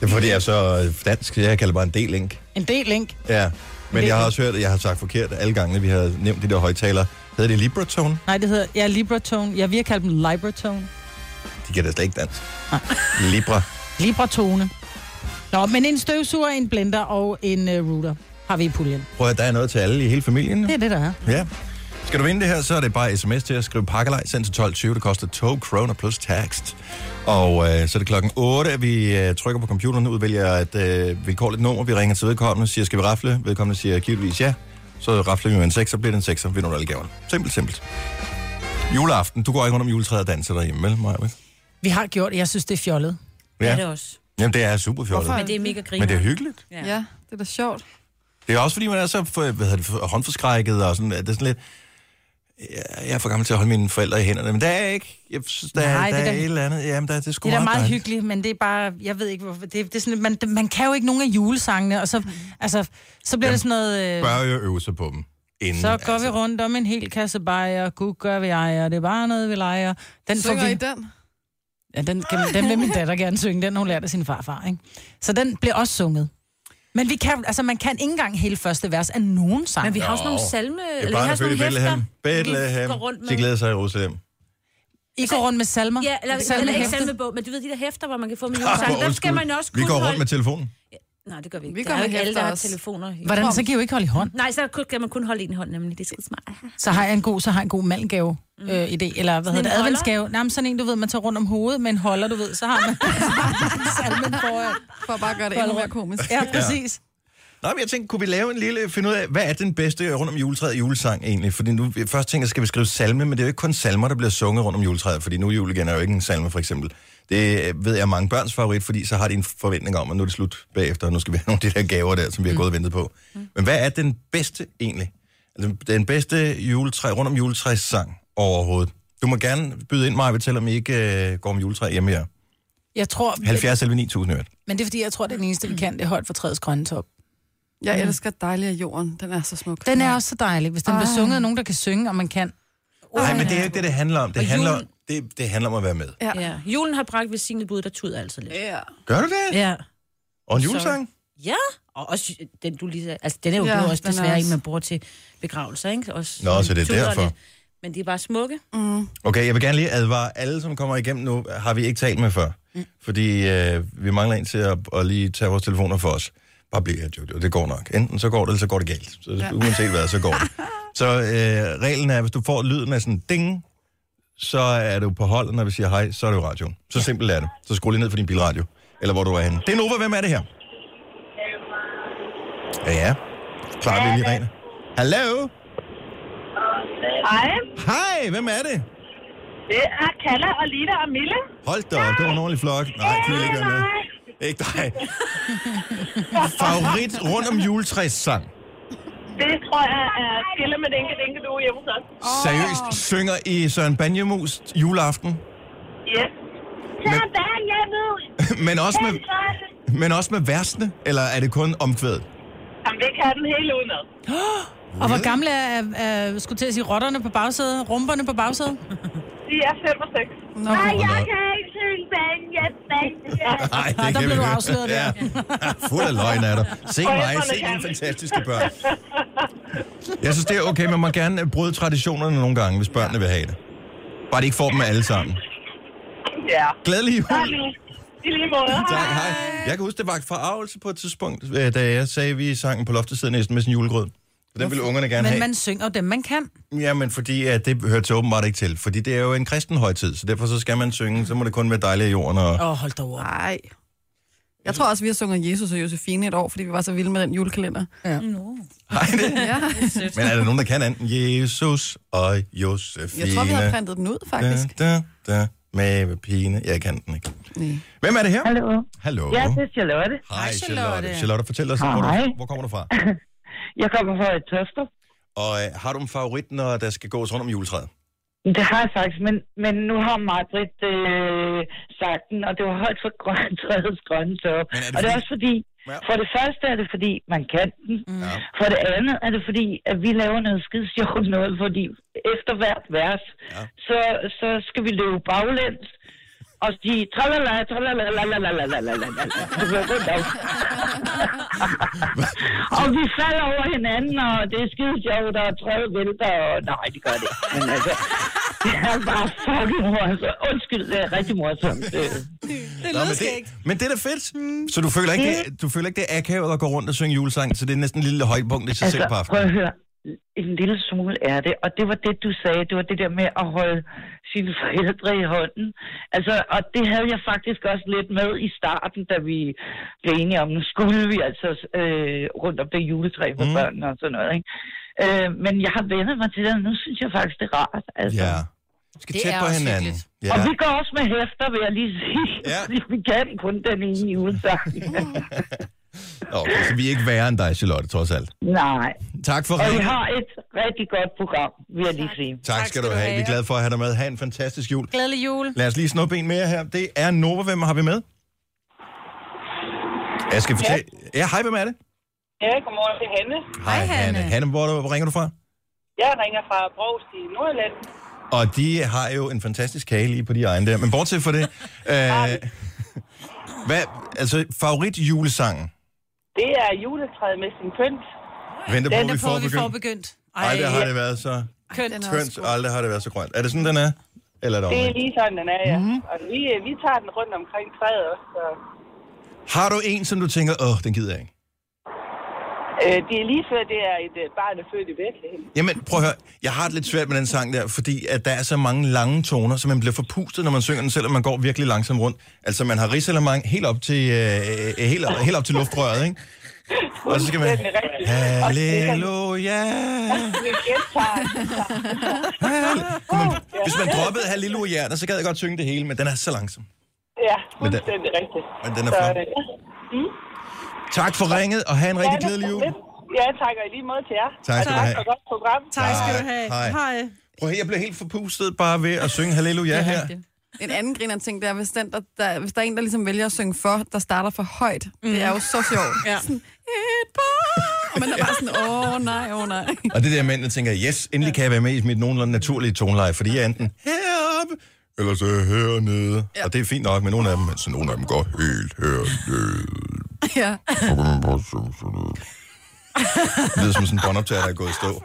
Speaker 1: Det er fordi, jeg er så dansk, så jeg kalder bare en D-Link.
Speaker 2: En D-Link.
Speaker 1: Ja. Men jeg har
Speaker 2: D-Link.
Speaker 1: også hørt, at jeg har sagt forkert alle gange, vi har nævnt de der højtalere. Hedder det Libratone?
Speaker 2: Nej, det hedder, ja, Libratone. Jeg vil kalde dem Libratone.
Speaker 1: De kan da slet ikke dansk. Libra.
Speaker 2: Libratone. Nå, men en støvsuger, en blender og en uh, router har vi i puljen.
Speaker 1: Prøv at høre, der er noget til alle i hele familien. jo.
Speaker 2: Det er det, der er.
Speaker 1: Ja. Skal du vinde det her, så er det bare sms til at skrive pakkelej, send til 12.20. Det koster 12 kroner plus takst. Og øh, så er det klokken 8, at vi øh, trykker på computeren, udvælger et øh, vilkårligt nummer, vi ringer til vedkommende, siger, skal vi rafle? Vedkommende siger givetvis ja. Så rafler vi med en 6, så bliver det en 6, så vinder du alle gaverne. Simpelt, simpelt. Juleaften, du går ikke rundt om juletræet og danser derhjemme, vel, Maja?
Speaker 2: Vi har gjort det. Jeg synes, det er fjollet.
Speaker 3: Ja. Det er det også.
Speaker 1: Jamen, det er super fjollet.
Speaker 6: Hvorfor?
Speaker 3: Men det er mega griner.
Speaker 1: Men det er hyggeligt.
Speaker 3: Ja.
Speaker 6: Ja, det er da sjovt.
Speaker 1: Det er også, fordi man er så for, hvad hedder det, for- håndforskrækket og sådan, at det er sådan lidt... Ja, Jeg er for gammel til at holde mine forældre i hænderne, men der er ikke... Jeg synes, der,
Speaker 2: Nej,
Speaker 1: Nej,
Speaker 2: det
Speaker 1: der
Speaker 2: er
Speaker 1: er
Speaker 2: da-
Speaker 1: et eller andet. Jamen, der, det er sgu
Speaker 2: Det er da meget
Speaker 1: dejligt.
Speaker 2: hyggeligt, men det er bare, jeg ved ikke hvorfor, det, det er sådan, man, man kan jo ikke nogen af julesangene, og så, altså, så bliver det sådan noget, øh,
Speaker 1: Bør jo øve sig på dem. Inden, altså.
Speaker 2: så går vi rundt om en hel kasse bajer, gud gør vi ejer, det er bare noget, vi leger. Den får
Speaker 6: Synger
Speaker 2: vi...
Speaker 6: I den?
Speaker 2: Ja, den, kan, den vil min datter gerne synge. Den har hun lært af sin farfar, ikke? Så den bliver også sunget. Men vi kan, altså, man kan ikke engang hele første vers af nogen sang.
Speaker 3: Men vi
Speaker 2: vi...
Speaker 3: har jo sådan nogle
Speaker 1: Jo.
Speaker 3: salme...
Speaker 1: Et
Speaker 3: vi
Speaker 1: barn
Speaker 3: har
Speaker 1: er født
Speaker 3: sådan
Speaker 1: i
Speaker 3: nogle
Speaker 1: Bethlehem.
Speaker 3: hæfter,
Speaker 1: Bethlehem.
Speaker 3: vi går rundt
Speaker 1: De
Speaker 3: med.
Speaker 1: glæder sig i Jerusalem.
Speaker 2: I går rundt med salmer.
Speaker 3: Ja, eller,
Speaker 2: Salme-
Speaker 3: eller ikke
Speaker 2: hæfter.
Speaker 3: salmebog, men du ved de der hæfter, hvor man kan få med
Speaker 1: Ah,
Speaker 3: julesang. Der skal
Speaker 1: undskyld.
Speaker 3: man også
Speaker 1: Vi
Speaker 3: kunne
Speaker 1: går rundt
Speaker 3: holde...
Speaker 1: med telefonen.
Speaker 3: Nej, det gør vi ikke.
Speaker 6: Vi
Speaker 3: Det
Speaker 6: går
Speaker 3: er jo
Speaker 6: med
Speaker 3: ikke alle,
Speaker 6: hæfter
Speaker 3: der har
Speaker 6: også.
Speaker 3: telefoner. i-
Speaker 2: Hvordan, så kan I jo ikke holde i hånd.
Speaker 3: Nej, så kun- kan man kun holde en hånd, nemlig. Det er skide smart.
Speaker 2: Så har jeg en god, så har jeg en god malgave. Øh, idé, eller hvad hedder
Speaker 3: Mm. en
Speaker 2: det,
Speaker 3: holder?
Speaker 2: adventsgave. Nej, men sådan en, du ved, man tager rundt om hovedet med en holder, du
Speaker 3: [LAUGHS]
Speaker 2: ved, så har man salmen foran.
Speaker 6: For at bare gøre det endnu mere komisk.
Speaker 2: Ja, præcis.
Speaker 1: Nå, men jeg tænkte, kunne vi lave en lille, finde ud af, hvad er den bedste øh, rundt om juletræet julesang egentlig? Fordi nu, jeg først tænker, skal vi skrive salme, men det er jo ikke kun salmer, der bliver sunget rundt om juletræet, fordi nu er jul igen er jo ikke en salme, for eksempel. Det øh, ved jeg er mange børns favorit, fordi så har de en forventning om, at nu er det slut bagefter, og nu skal vi have [LAUGHS] nogle af de der gaver der, som vi har gået og ventet på. Men hvad er den bedste egentlig? Altså, den bedste juletræ, rundt om juletræs sang overhovedet. Du må gerne byde ind mig, selvom I ikke øh, går om juletræ hjemme her.
Speaker 2: Jeg tror,
Speaker 1: 70 eller 9000 øvrigt.
Speaker 2: men det er fordi, jeg tror, det er den eneste, vi kan, det er højt for træets grønne top.
Speaker 6: Jeg elsker dejlig af jorden. Den er så smuk.
Speaker 2: Den er også så dejlig, hvis den bliver sunget af nogen, der kan synge, og man kan.
Speaker 1: Nej, men det er jo ikke det, det handler om. Det,
Speaker 3: Og
Speaker 1: handler,
Speaker 3: julen-
Speaker 1: det, det handler om at være med.
Speaker 6: Ja. Øh.
Speaker 3: Ja. Julen har bragt velsignet bud, der tuder altså lidt.
Speaker 6: Ja.
Speaker 1: Gør du det?
Speaker 3: Ja.
Speaker 1: Og en
Speaker 3: Så-
Speaker 1: julesang?
Speaker 3: Ja, og også den, du lige sagde- Altså, den er jo
Speaker 6: Ja,
Speaker 3: ja, også
Speaker 6: den er
Speaker 3: desværre også...
Speaker 6: også-
Speaker 3: en, man bruger til begravelser, ikke? Også,
Speaker 1: Nå, så det er
Speaker 3: tuder
Speaker 1: derfor.
Speaker 3: lidt. Men de er bare smukke.
Speaker 1: Okay, jeg vil gerne lige advare alle, som kommer igennem nu, har vi ikke talt med før. Mm. Fordi øh, vi mangler en til at, at lige tage vores telefoner for os. Bare bliv her, Jojo, det går nok. Enten så går det, eller så går det galt. Så ja. uanset hvad, så går [LAUGHS] det. Så øh, reglen er, hvis du får lyden af sådan ding, så er du på holdet, når vi siger hej, så er det jo radioen. Så simpelt er det. Så skru lige ned for din bilradio, eller hvor du er henne. Det er Nova, hvem er det her? Ja, ja. Klart lige rene. Hallo?
Speaker 7: Hej,
Speaker 1: Hej, hvem er det?
Speaker 7: det er Kalla og Lina og Mille.
Speaker 1: Hold da op, det var en ordentlig flok. Nej, det vil ikke være med. Ikke dig. Favorit rundt om juletræssang.
Speaker 7: Det tror jeg er skille med den dinke du er hjemme hos os.
Speaker 1: Seriøst, synger I Søren Banjemus juleaften, [LAUGHS]
Speaker 7: Yes.
Speaker 1: Men-
Speaker 7: Sådan, jeg ved.
Speaker 1: men også med, men også med versene, eller er det kun omkvædet?
Speaker 7: Jamen, det kan den hele udenad.
Speaker 2: Og hvor gamle er, er, er skulle til at sige, rotterne på bagsædet, rumperne på bagsædet?
Speaker 7: De er 5 og 6.
Speaker 6: Nå,
Speaker 1: jeg
Speaker 7: kan ikke synge banja, banja. [LAUGHS]
Speaker 1: Nej,
Speaker 2: der blev du
Speaker 1: høre.
Speaker 2: afsløret der.
Speaker 1: Ja. Fuld af løgn er der. Se mig,
Speaker 7: Forældrene
Speaker 1: se nogle
Speaker 7: kan.
Speaker 1: fantastiske børn. Jeg synes, det er okay, man må gerne øh, bryde traditionerne nogle gange, hvis børnene vil have det. Bare de ikke får dem alle sammen.
Speaker 7: Ja.
Speaker 1: Glædelig
Speaker 7: Hej,
Speaker 1: jul!
Speaker 7: Lina. I lige måde.
Speaker 1: Tak, hej. Jeg kan huske, det var forarvelse på et tidspunkt, øh, da jeg sagde, at vi sang på loftet sidder næsten med sin julegrød. For den ville ungerne gerne
Speaker 2: Men
Speaker 1: have.
Speaker 2: man synger jo dem, man kan.
Speaker 1: Jamen, fordi at det hører til åbenbart ikke til. Fordi det er jo en kristen højtid, så derfor så skal man synge, så må det kun være dejligt af jorden. Og...
Speaker 2: Åh, oh, hold da over.
Speaker 6: Nej. Jeg tror også, vi har sunget Jesus og Josefine et år, fordi vi var så vilde med den julekalender.
Speaker 1: Nej, det...
Speaker 6: Ja.
Speaker 1: Men er der nogen, der kan anden? Jesus og Josefine.
Speaker 6: Jeg tror, vi har printet den ud, faktisk.
Speaker 1: Da, da, da. Mave, pine. Jeg kan den ikke.
Speaker 6: Nej.
Speaker 1: Hvem er det her?
Speaker 7: Hallo.
Speaker 1: Hallo.
Speaker 7: Ja, det er Charlotte.
Speaker 1: Hej,
Speaker 2: Hej,
Speaker 1: Charlotte.
Speaker 2: Charlotte.
Speaker 1: Charlotte, fortæl os, hvor, du,
Speaker 7: Hej.
Speaker 1: hvor kommer du fra?
Speaker 7: Jeg kommer fra et tøster.
Speaker 1: Og øh, har du en favorit, når der skal gås rundt om juletræet?
Speaker 7: Det har jeg faktisk, men, men nu har Madrid øh, sagt den, og det var højt for grøn, træets grønne top.
Speaker 1: Men er det
Speaker 7: og det er
Speaker 1: fordi-
Speaker 7: også fordi,
Speaker 1: Ja.
Speaker 7: ja. for det første er det fordi, man kan den.
Speaker 1: Ja.
Speaker 7: For det andet er det fordi, at vi laver noget skide sjovt noget, fordi efter hvert vers,
Speaker 1: Ja.
Speaker 7: ja. så, så skal vi løbe baglæns, og sige tralala, tralala, Og vi falder over hinanden, og det er skide sjovt, og træet vælter, og nej, det gør det ikke. Men altså, det er bare fucking morsomt. altså. Undskyld, det er rigtig morsomt. Øh,
Speaker 2: Det
Speaker 1: Nå, men, det, men det er da fedt. Mm. Så du føler, ikke, det, er- du føler ikke, det er akavet at gå rundt og synge julesang, så det er næsten en lille højdepunkt i sig selv på
Speaker 7: Altså, prøv
Speaker 1: aftenen.
Speaker 7: at høre. En lille smule er det, og det var det, du sagde. Det var det der med at holde sine forældre i hånden. Altså, og det havde jeg faktisk også lidt med i starten, da vi blev enige om, nu skulle vi altså øh, rundt om det juletræ for
Speaker 1: Mm.
Speaker 7: mm. børnene og sådan noget. Ikke? Øh, men jeg har vendet mig til det, og nu synes jeg faktisk, det er rart. Altså.
Speaker 1: Ja. Du skal
Speaker 2: Det
Speaker 1: tæt
Speaker 2: er
Speaker 1: på
Speaker 2: også
Speaker 1: hinanden.
Speaker 2: hyggeligt.
Speaker 1: Ja.
Speaker 7: Og vi går også med hæfter, vil jeg lige sige.
Speaker 1: Ja.
Speaker 7: Ja. [LAUGHS] vi kan kun den ene julesang.
Speaker 1: Nå, Okay, så vi er ikke værre end dig, Charlotte, trods alt.
Speaker 7: Nej.
Speaker 1: Tak for
Speaker 7: Og vi
Speaker 1: ringen.
Speaker 7: har et rigtig godt program, vil jeg lige sige.
Speaker 1: Tak skal du have. Vi er glade for at have dig med. Ha' en fantastisk jul.
Speaker 2: Glædelig jul.
Speaker 1: Lad os lige snuppe en mere her. Det er Nova. Hvem har vi med? Jeg skal fortælle... Ja, hej, hvem er det?
Speaker 7: Ja, godmorgen til Hanne.
Speaker 1: Hej, Hanne. Hanne, hvor, hvor ringer du fra?
Speaker 7: Jeg ringer fra Brogst i Nordjylland.
Speaker 1: Og de har jo en fantastisk kage lige på de egne der. Men bortset fra det... [LAUGHS] øh, hvad, altså, favorit julesangen?
Speaker 7: Det er juletræet med sin pynt.
Speaker 1: Venter på,
Speaker 2: Den
Speaker 1: vi
Speaker 2: er på,
Speaker 1: får
Speaker 2: vi får
Speaker 1: begyndt.
Speaker 2: begyndt.
Speaker 1: Ej, det har det været så
Speaker 2: kønt.
Speaker 6: Den er også
Speaker 1: kønt.
Speaker 6: god.
Speaker 1: Aldrig har det været så grønt. Er det sådan, den er? Eller er det
Speaker 7: Det er
Speaker 1: omvendt?
Speaker 7: lige sådan, den er, ja.
Speaker 1: Mhm.
Speaker 7: Mm-hmm. Og vi, øh, vi tager den rundt omkring træet også. Så.
Speaker 1: Har du en, som du tænker, åh, den gider jeg ikke?
Speaker 7: Øh, det er lige før, det er et øh, barn, der er født i Bethlehem.
Speaker 1: Jamen, prøv at høre. Jeg har det lidt svært med den sang der, fordi at der er så mange lange toner, så man bliver forpustet, når man synger den, selvom man går virkelig langsomt rundt. Altså, man har ridsalermang helt op til, øh, øh, helt, op, helt op til luftrøret, ikke? Og så skal man...
Speaker 7: Fuldstændig rigtigt. Og det er den-
Speaker 1: Halleluja!
Speaker 7: Jeg gentager.
Speaker 1: hall- Kunne man- Hvis man droppede halleluja, så gad jeg godt synge det hele, men den er så langsom.
Speaker 7: Ja, fuldstændig rigtigt.
Speaker 1: Men den er
Speaker 7: Så,
Speaker 1: flot.
Speaker 7: øh,
Speaker 1: Tak for ringet, og have en rigtig glædelig jul.
Speaker 7: Ja, tak, og i lige måde til jer.
Speaker 1: Tak skal du have.
Speaker 7: Tak for et godt program.
Speaker 2: Tak skal du have.
Speaker 1: Hej.
Speaker 2: Hej.
Speaker 1: Prøv at høre, jeg blev helt forpustet bare ved at synge halleluja her.
Speaker 6: En anden griner ting, det er, hvis, den, der, der, hvis der er en, der ligesom vælger at synge for, der starter for højt. Mm. Det er jo så sjovt.
Speaker 2: Ja.
Speaker 6: Sådan, et barn. Og man er bare sådan, åh oh, nej, åh oh, nej.
Speaker 1: Og det der mænd, der tænker, yes, endelig kan jeg være med i mit nogenlunde naturlige toneleje, fordi jeg er enten heroppe, eller så hernede. Ja. Og det er fint nok, men nogle af dem, altså, nogle af dem går helt hernede.
Speaker 6: Ja.
Speaker 1: Så kan man bare synge sådan noget. Det lyder som sådan en båndoptager, der er gået i stå.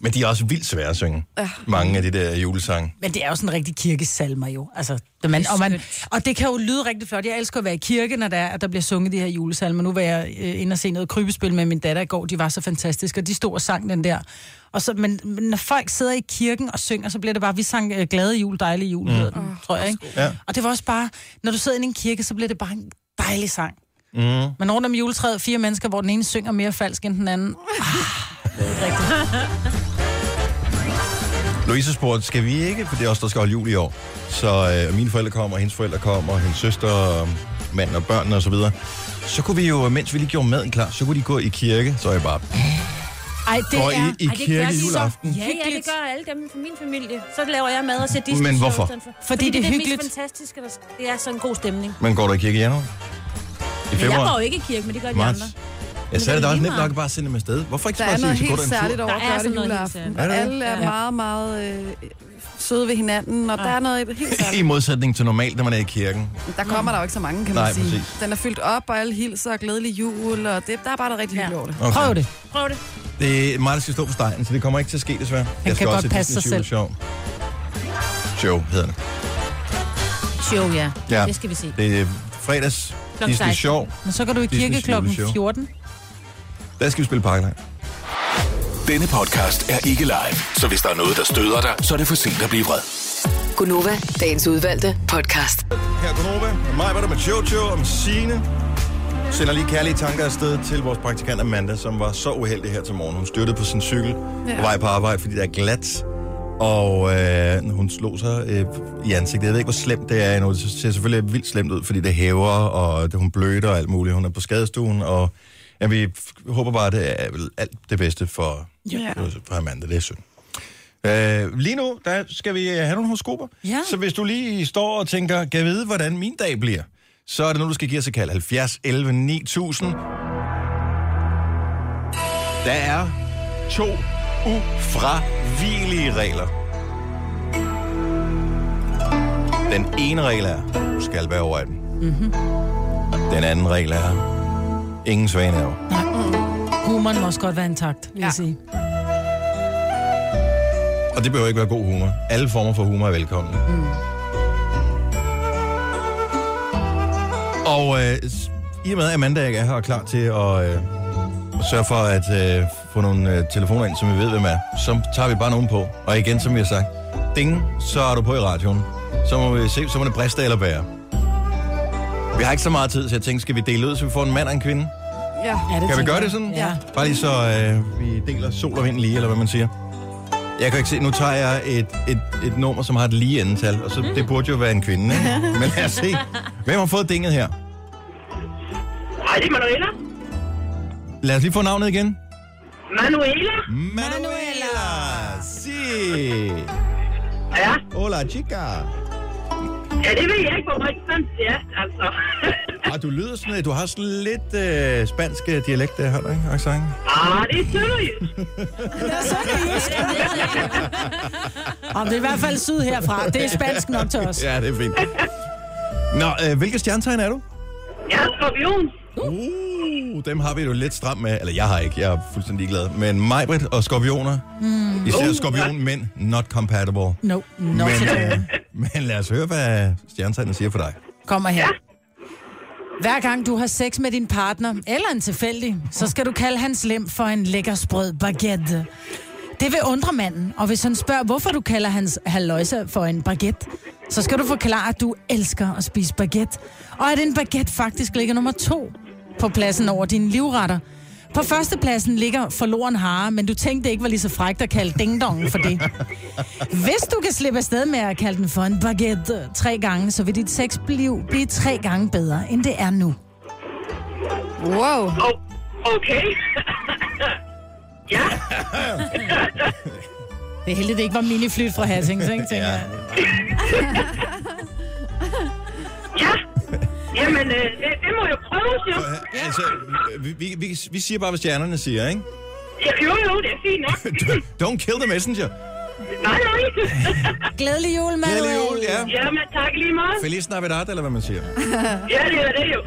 Speaker 1: Men de er også vildt svære at synge. Mange af de der julesange.
Speaker 2: Men det er jo sådan en rigtig kirkesalmer jo. Altså, det man, og, man, og det kan jo lyde rigtig flot. Jeg elsker at være i kirke, når der, er, at der bliver sunget de her julesalmer. Nu var jeg øh, inde og se noget krybespil med min datter i går. De var så fantastiske, og de stod og sang den der. Og så, men, men når folk sidder i kirken og synger, så bliver det bare, vi sang øh, glade jul, dejlige jul, mm. den, tror jeg. Ikke?
Speaker 1: Ja.
Speaker 2: Og det var også bare, når du sidder inde i en kirke, så bliver det bare en dejlig sang. Mm. Men rundt om juletræet, fire mennesker, hvor den ene synger mere falsk end den anden.
Speaker 1: Louise spurgte, skal vi ikke? For det er også der skal holde jul i år. Så øh, mine forældre kommer, og hendes forældre kommer, og hendes søster, og mand og børn og så videre. Så kunne vi jo, mens vi lige gjorde maden klar, så kunne de gå i kirke. Så er jeg bare...
Speaker 2: Ej, det
Speaker 1: Går
Speaker 2: er...
Speaker 1: I, i kirke
Speaker 3: de så.
Speaker 1: juleaften?
Speaker 3: Ja, ja, det gør alle dem fra min familie. Så laver jeg mad og ser Disney
Speaker 1: Men hvorfor?
Speaker 3: Fordi,
Speaker 2: Fordi det er hyggeligt.
Speaker 3: det mest fantastiske, der sk- det er sådan en god stemning.
Speaker 1: Men går du i kirke i januar? I
Speaker 3: Men jeg
Speaker 1: februar?
Speaker 3: går jo ikke i kirke, men det gør de andre.
Speaker 1: Marts? Jeg
Speaker 3: det
Speaker 1: sagde
Speaker 3: er
Speaker 1: det da også
Speaker 3: lige
Speaker 1: nemt
Speaker 3: meget.
Speaker 1: nok at bare sende dem afsted. Hvorfor ikke
Speaker 6: Der er
Speaker 1: bare sige,
Speaker 6: noget
Speaker 1: så går du
Speaker 6: helt
Speaker 1: en
Speaker 6: særligt
Speaker 1: tur?
Speaker 6: over
Speaker 3: Der
Speaker 6: at
Speaker 3: er
Speaker 6: gøre
Speaker 3: sådan
Speaker 6: det
Speaker 3: noget helt
Speaker 6: juleaften.
Speaker 1: særligt. Er der
Speaker 6: Alle er meget, meget øh, søde ved hinanden, og der er noget helt særligt.
Speaker 1: I modsætning til normalt, når man er i kirken.
Speaker 6: Der kommer der jo ikke så mange, kan man
Speaker 1: Nej,
Speaker 6: sige.
Speaker 1: præcis.
Speaker 6: Den er fyldt op, og alle hilser og glædelig jul, og det, der er bare noget rigtig hyggeligt over det.
Speaker 1: Okay.
Speaker 2: Prøv det.
Speaker 3: Prøv det.
Speaker 1: Det er mig, der skal stå på stegen, så det kommer ikke til at ske, desværre. Han jeg skal
Speaker 2: kan
Speaker 1: også
Speaker 2: godt
Speaker 1: i
Speaker 2: passe sig
Speaker 1: Disney's
Speaker 2: selv.
Speaker 1: juleshow. Show hedder det.
Speaker 3: Show, ja.
Speaker 1: Ja.
Speaker 3: Det skal vi se.
Speaker 1: Det er fredags
Speaker 3: Klokken
Speaker 1: Disney
Speaker 3: 16.
Speaker 1: Show.
Speaker 2: Men så går du i
Speaker 1: Disney's
Speaker 2: kirke klokken
Speaker 1: juleshow.
Speaker 2: 14.
Speaker 1: Der skal vi spille Parkland.
Speaker 4: Denne podcast er ikke live, så hvis der er noget, der støder dig, så er det for sent at blive vred.
Speaker 5: Gunova, dagens udvalgte podcast.
Speaker 1: Her er Konoba, med mig var der med Jojo og med Signe. Sender lige kærlige tanker afsted til vores praktikant Amanda, som var så uheldig her til morgen. Hun styrtede på sin cykel ja. på vej på arbejde, fordi det er glat. Og øh, hun slog sig øh, i ansigtet. Jeg ved ikke, hvor slemt det er endnu. Det ser selvfølgelig vildt slemt ud, fordi det hæver, og det, hun bløder og alt muligt. Hun er på skadestuen, og ja, vi f- håber bare, at det er vel alt det bedste for, ja. for Amanda. Det er synd. Øh, lige nu, der skal vi øh, have nogle horoskoper.
Speaker 2: Ja.
Speaker 1: Så hvis du lige står og tænker, kan jeg vide, hvordan min dag bliver? Så er det nu, du skal give os et kald. 70 11 9000. Der er to ufravigelige regler. Den ene regel er, du skal være over 18. Mm-hmm. Den anden regel er, ingen svaner.
Speaker 2: Humoren må også godt være intakt, vil ja. jeg
Speaker 6: Ja.
Speaker 2: sige.
Speaker 1: Og det behøver ikke være god humor. Alle former for humor er velkomne. Mm. Og øh, s- i og med, at Amanda ikke er her og klar til at øh, sørge for at øh, få nogle øh, telefoner ind, som vi ved, hvem er, så tager vi bare nogen på. Og igen, som vi har sagt, ding, så er du på i radioen. Så må vi se, så må det briste eller bære. Vi har ikke så meget tid, så jeg tænkte, skal vi dele ud, så vi får en mand og en kvinde?
Speaker 6: Ja.
Speaker 2: Ja,
Speaker 1: Kan vi
Speaker 2: tænker
Speaker 1: gøre
Speaker 2: jeg.
Speaker 1: det sådan?
Speaker 2: Ja.
Speaker 1: Bare lige så øh, vi deler sol og vind lige, eller hvad man siger. Jeg kan ikke se, nu tager jeg et, et, et nummer, som har et lige endetal, og så det burde jo være en kvinde, ikke? Men lad os se. Hvem har fået dinget her?
Speaker 7: Hej, det er Manuela.
Speaker 1: Lad os lige få navnet igen.
Speaker 7: Manuela?
Speaker 1: Mm. Manuela! Si!
Speaker 7: Ja,
Speaker 1: Hola, chica!
Speaker 7: ja det ved jeg ikke, hvor meget sandt det er,
Speaker 8: [LAUGHS]
Speaker 7: altså.
Speaker 1: Og Ah, du lyder sådan, du har sådan lidt øh, spansk øh, dialekt, der har du, ikke? Accent.
Speaker 7: ah, det er sønderjysk.
Speaker 2: Og det er i hvert fald syd herfra. Det er spansk nok til os.
Speaker 1: Ja, det er fint. Nå, øh, hvilke stjernetegn er du?
Speaker 7: Jeg er skorpion.
Speaker 1: Uh, dem har vi jo lidt stram med. Eller jeg har ikke, jeg er fuldstændig glad. Men Majbrit og skorpioner, mm. især skorpionmænd, not compatible.
Speaker 2: No, no.
Speaker 1: Men, øh, [LAUGHS] men lad os høre, hvad stjernetegnet siger for dig.
Speaker 2: Kommer her. Hver gang du har sex med din partner, eller en tilfældig, så skal du kalde hans lem for en lækker sprød baguette. Det vil undre manden, og hvis han spørger, hvorfor du kalder hans haløjse for en baguette, så skal du forklare, at du elsker at spise baguette, og at en baguette faktisk ligger nummer to på pladsen over dine livretter. På førstepladsen ligger forloren hare, men du tænkte ikke var lige så frægt at kalde dingdongen for det. Hvis du kan slippe afsted med at kalde den for en baguette tre gange, så vil dit sex blive, blive tre gange bedre, end det er nu.
Speaker 6: Wow.
Speaker 8: Oh, okay. ja,
Speaker 2: Det er heldigt, det ikke var miniflyt fra Hassings, ikke? Tænker
Speaker 1: [LAUGHS] Ja.
Speaker 2: jeg.
Speaker 8: ja. Jamen, øh, det, det må jo prøves jo.
Speaker 1: Altså, vi, vi, vi, vi siger bare, hvad stjernerne siger, ikke? [LAUGHS]
Speaker 8: Ja, jo, jo, det er fint nok.
Speaker 1: Don't kill the messenger.
Speaker 8: Nej,
Speaker 1: [LAUGHS]
Speaker 8: nej.
Speaker 2: Glædelig jul, Manuel.
Speaker 1: Glædelig jul, ja.
Speaker 8: Jamen, tak lige meget.
Speaker 1: Feliz Navidad, eller hvad man siger.
Speaker 8: Ja, det er det
Speaker 1: [LAUGHS]
Speaker 8: jo.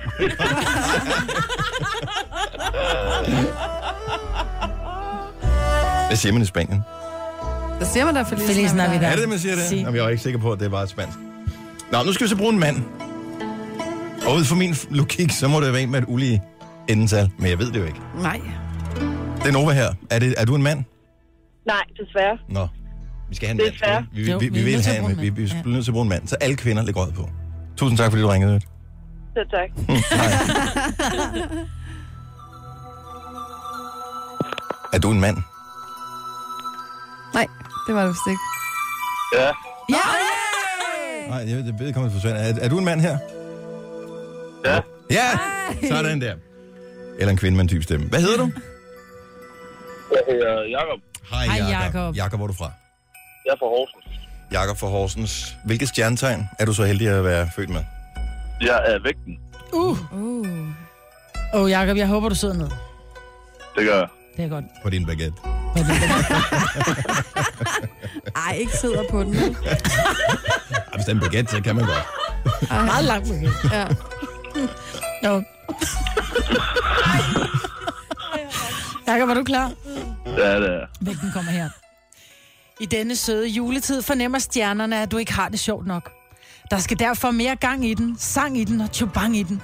Speaker 1: Hvad siger man i Spanien?
Speaker 6: Der siger man da Feliz,
Speaker 2: Feliz Navidad.
Speaker 1: Er det det, man siger det?
Speaker 2: Si.
Speaker 1: Si. Jamen, jeg er ikke sikker på, at det er bare spansk. Nå, nu skal vi så bruge en mand. Og ud fra min f- logik, så må det være en med et ulige endetal. Men jeg ved det jo ikke.
Speaker 6: Nej.
Speaker 1: Det er Nova her. Er, det, er du en mand?
Speaker 9: Nej, desværre.
Speaker 1: Nå. Vi skal have en mand.
Speaker 9: Desværre.
Speaker 1: Vi, vi,
Speaker 2: Jo,
Speaker 1: vi, vi, vil
Speaker 2: nødt til at
Speaker 1: have
Speaker 2: bruge
Speaker 1: en
Speaker 2: en
Speaker 1: mand. Vi, vi,
Speaker 2: mand.
Speaker 1: vi
Speaker 2: Ja.
Speaker 1: bliver nødt til at bruge en mand. Så alle kvinder lægger øjet på. Tusind tak, fordi du [LAUGHS] ringede.
Speaker 9: Så tak.
Speaker 1: Nej. er du en mand?
Speaker 6: Nej, det var det vist ikke.
Speaker 10: Ja,
Speaker 6: Ja,
Speaker 1: Nej, jeg ved, det kommer fra Svend. Er, er du en mand her?
Speaker 10: ja.
Speaker 1: Ja, sådan der. Eller en kvinde med en dyb stemme. Hvad hedder du?
Speaker 10: Jeg hedder Jakob.
Speaker 1: Hej,
Speaker 2: Hej,
Speaker 1: Jakob.
Speaker 2: Jakob.
Speaker 1: Jakob, hvor er du fra?
Speaker 10: Jeg er fra Horsens.
Speaker 1: Jakob fra Horsens. Hvilket stjernetegn er du så heldig at være født med?
Speaker 10: Jeg er vægten.
Speaker 2: Uh. Åh, oh, Jacob, jeg håber, du sidder ned.
Speaker 10: Det gør jeg.
Speaker 2: Det er godt.
Speaker 1: På din baguette.
Speaker 6: Ej, ikke sidder på den. vel?
Speaker 1: Ej, hvis det er en baguette, så kan man godt.
Speaker 2: Meget langt. [LAUGHS]
Speaker 6: Ja.
Speaker 2: Jo. Jakob, er du klar?
Speaker 10: Ja, det er jeg.
Speaker 2: Vægten kommer her. I denne søde juletid fornemmer stjernerne, at du ikke har det sjovt nok. Der skal derfor mere gang i den, sang i den og tjubang i den.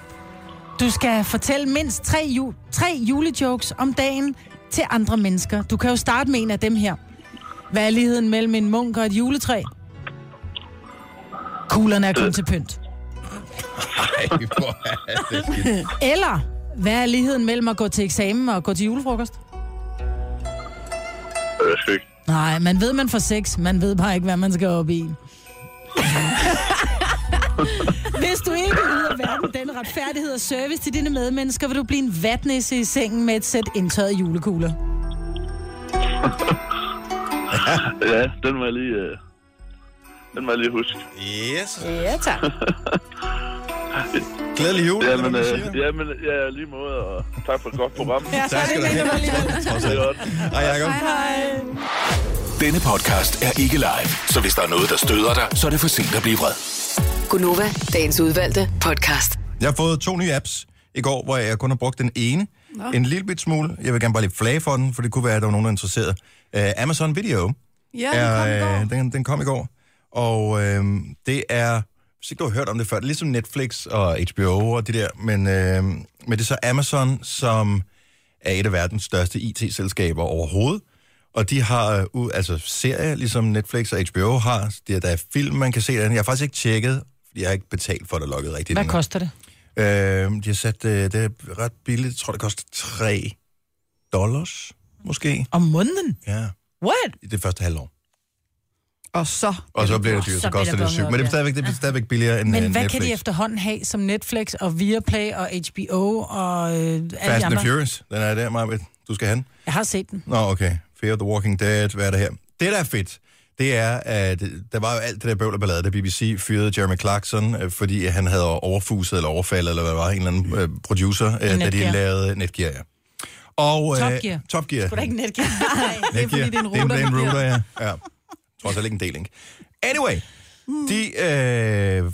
Speaker 2: Du skal fortælle mindst tre, ju- tre julejokes om dagen til andre mennesker. Du kan jo starte med en af dem her. Hvad er ligheden mellem en munk og et juletræ? Kuglerne er kun til pynt.
Speaker 1: Ej, hvor er det skidt.
Speaker 2: Eller, hvad er ligheden mellem at gå til eksamen og gå til julefrokost?
Speaker 10: Øh, Det er sgu ikke.
Speaker 2: Nej, man ved, man får sex. Man ved bare ikke, hvad man skal op
Speaker 10: [LAUGHS]
Speaker 2: i. Hvis du ikke yder verden den retfærdighed og service til dine medmennesker, vil du blive en vatnisse i sengen med et sæt indtørrede julekugler.
Speaker 10: Ja, den må jeg lige... Øh... Den må jeg lige huske.
Speaker 1: Yes.
Speaker 6: Ja, tak.
Speaker 1: Glædelig jul, eller
Speaker 10: Jamen,
Speaker 1: hvad man
Speaker 10: øh,
Speaker 1: siger.
Speaker 10: jamen ja, lige måde, og tak for et godt program.
Speaker 2: Ja,
Speaker 1: Tak skal du have. Trods
Speaker 10: Det
Speaker 1: alt.
Speaker 10: er godt.
Speaker 1: Hej, Jacob.
Speaker 4: Denne podcast er ikke live, så hvis der er noget, der støder dig, så er det for sent at blive vred.
Speaker 5: Gunova, dagens udvalgte podcast.
Speaker 1: Jeg har fået to nye apps i går, hvor jeg kun har brugt den ene. Nå. En lille bit smule. Jeg vil gerne bare lige flage for den, for det kunne være, at der var nogen, der er interesseret. Uh, Amazon Video
Speaker 6: Ja, den kom i
Speaker 1: er,
Speaker 6: går.
Speaker 1: øh, den, den kom i går. Og øh, det er, hvis ikke du har hørt om det før, det er ligesom Netflix og HBO og det der, men, øh, men det er så Amazon, som er et af verdens største IT-selskaber overhovedet. Og de har øh, ud- altså serier, ligesom Netflix og HBO har. Det, der er film, man kan se derinde. Jeg har faktisk ikke tjekket, fordi jeg har ikke betalt for det lukket rigtigt.
Speaker 2: Hvad
Speaker 1: endnu.
Speaker 2: koster det?
Speaker 1: Øh, de har sat, øh, det er ret billigt, jeg tror det koster 3 dollars, måske.
Speaker 2: Om måneden?
Speaker 1: Ja,
Speaker 2: What?
Speaker 1: i det første halvår.
Speaker 6: Og så.
Speaker 1: Og så bliver det dyrt, så
Speaker 3: bliver
Speaker 1: koster
Speaker 3: der
Speaker 1: det syv.
Speaker 3: bonget op,
Speaker 1: Men det er
Speaker 3: ja.
Speaker 1: stadigvæk, det er stadigvæk billigere end
Speaker 2: Men
Speaker 1: øh,
Speaker 2: hvad
Speaker 1: Netflix.
Speaker 2: kan de efterhånden have som Netflix og Viaplay og HBO og øh, alle
Speaker 1: Fast
Speaker 2: de
Speaker 1: and
Speaker 2: andre?
Speaker 1: Furious, den er der, Marvitt. Du skal have den.
Speaker 2: Jeg har set den.
Speaker 1: Nå, okay. Fear of the Walking Dead, hvad er det her? Det, der er fedt, det er, at der var jo alt det der bøvl og ballade, da BBC fyrede Jeremy Clarkson, øh, fordi han havde overfuset eller overfaldet, eller hvad det var, en eller anden øh, producer, øh, da de
Speaker 2: Netgear.
Speaker 1: lavede Netgear, ja. Og, øh,
Speaker 2: Top Gear.
Speaker 1: Top Gear.
Speaker 2: Kunne der ikke netgive? [LAUGHS] Nej.
Speaker 1: Det er, fordi
Speaker 6: det er en
Speaker 1: Det er
Speaker 6: router,
Speaker 1: en
Speaker 6: der
Speaker 1: router, ja. ja. Trods alt ikke en del, ikke? Anyway, de øh,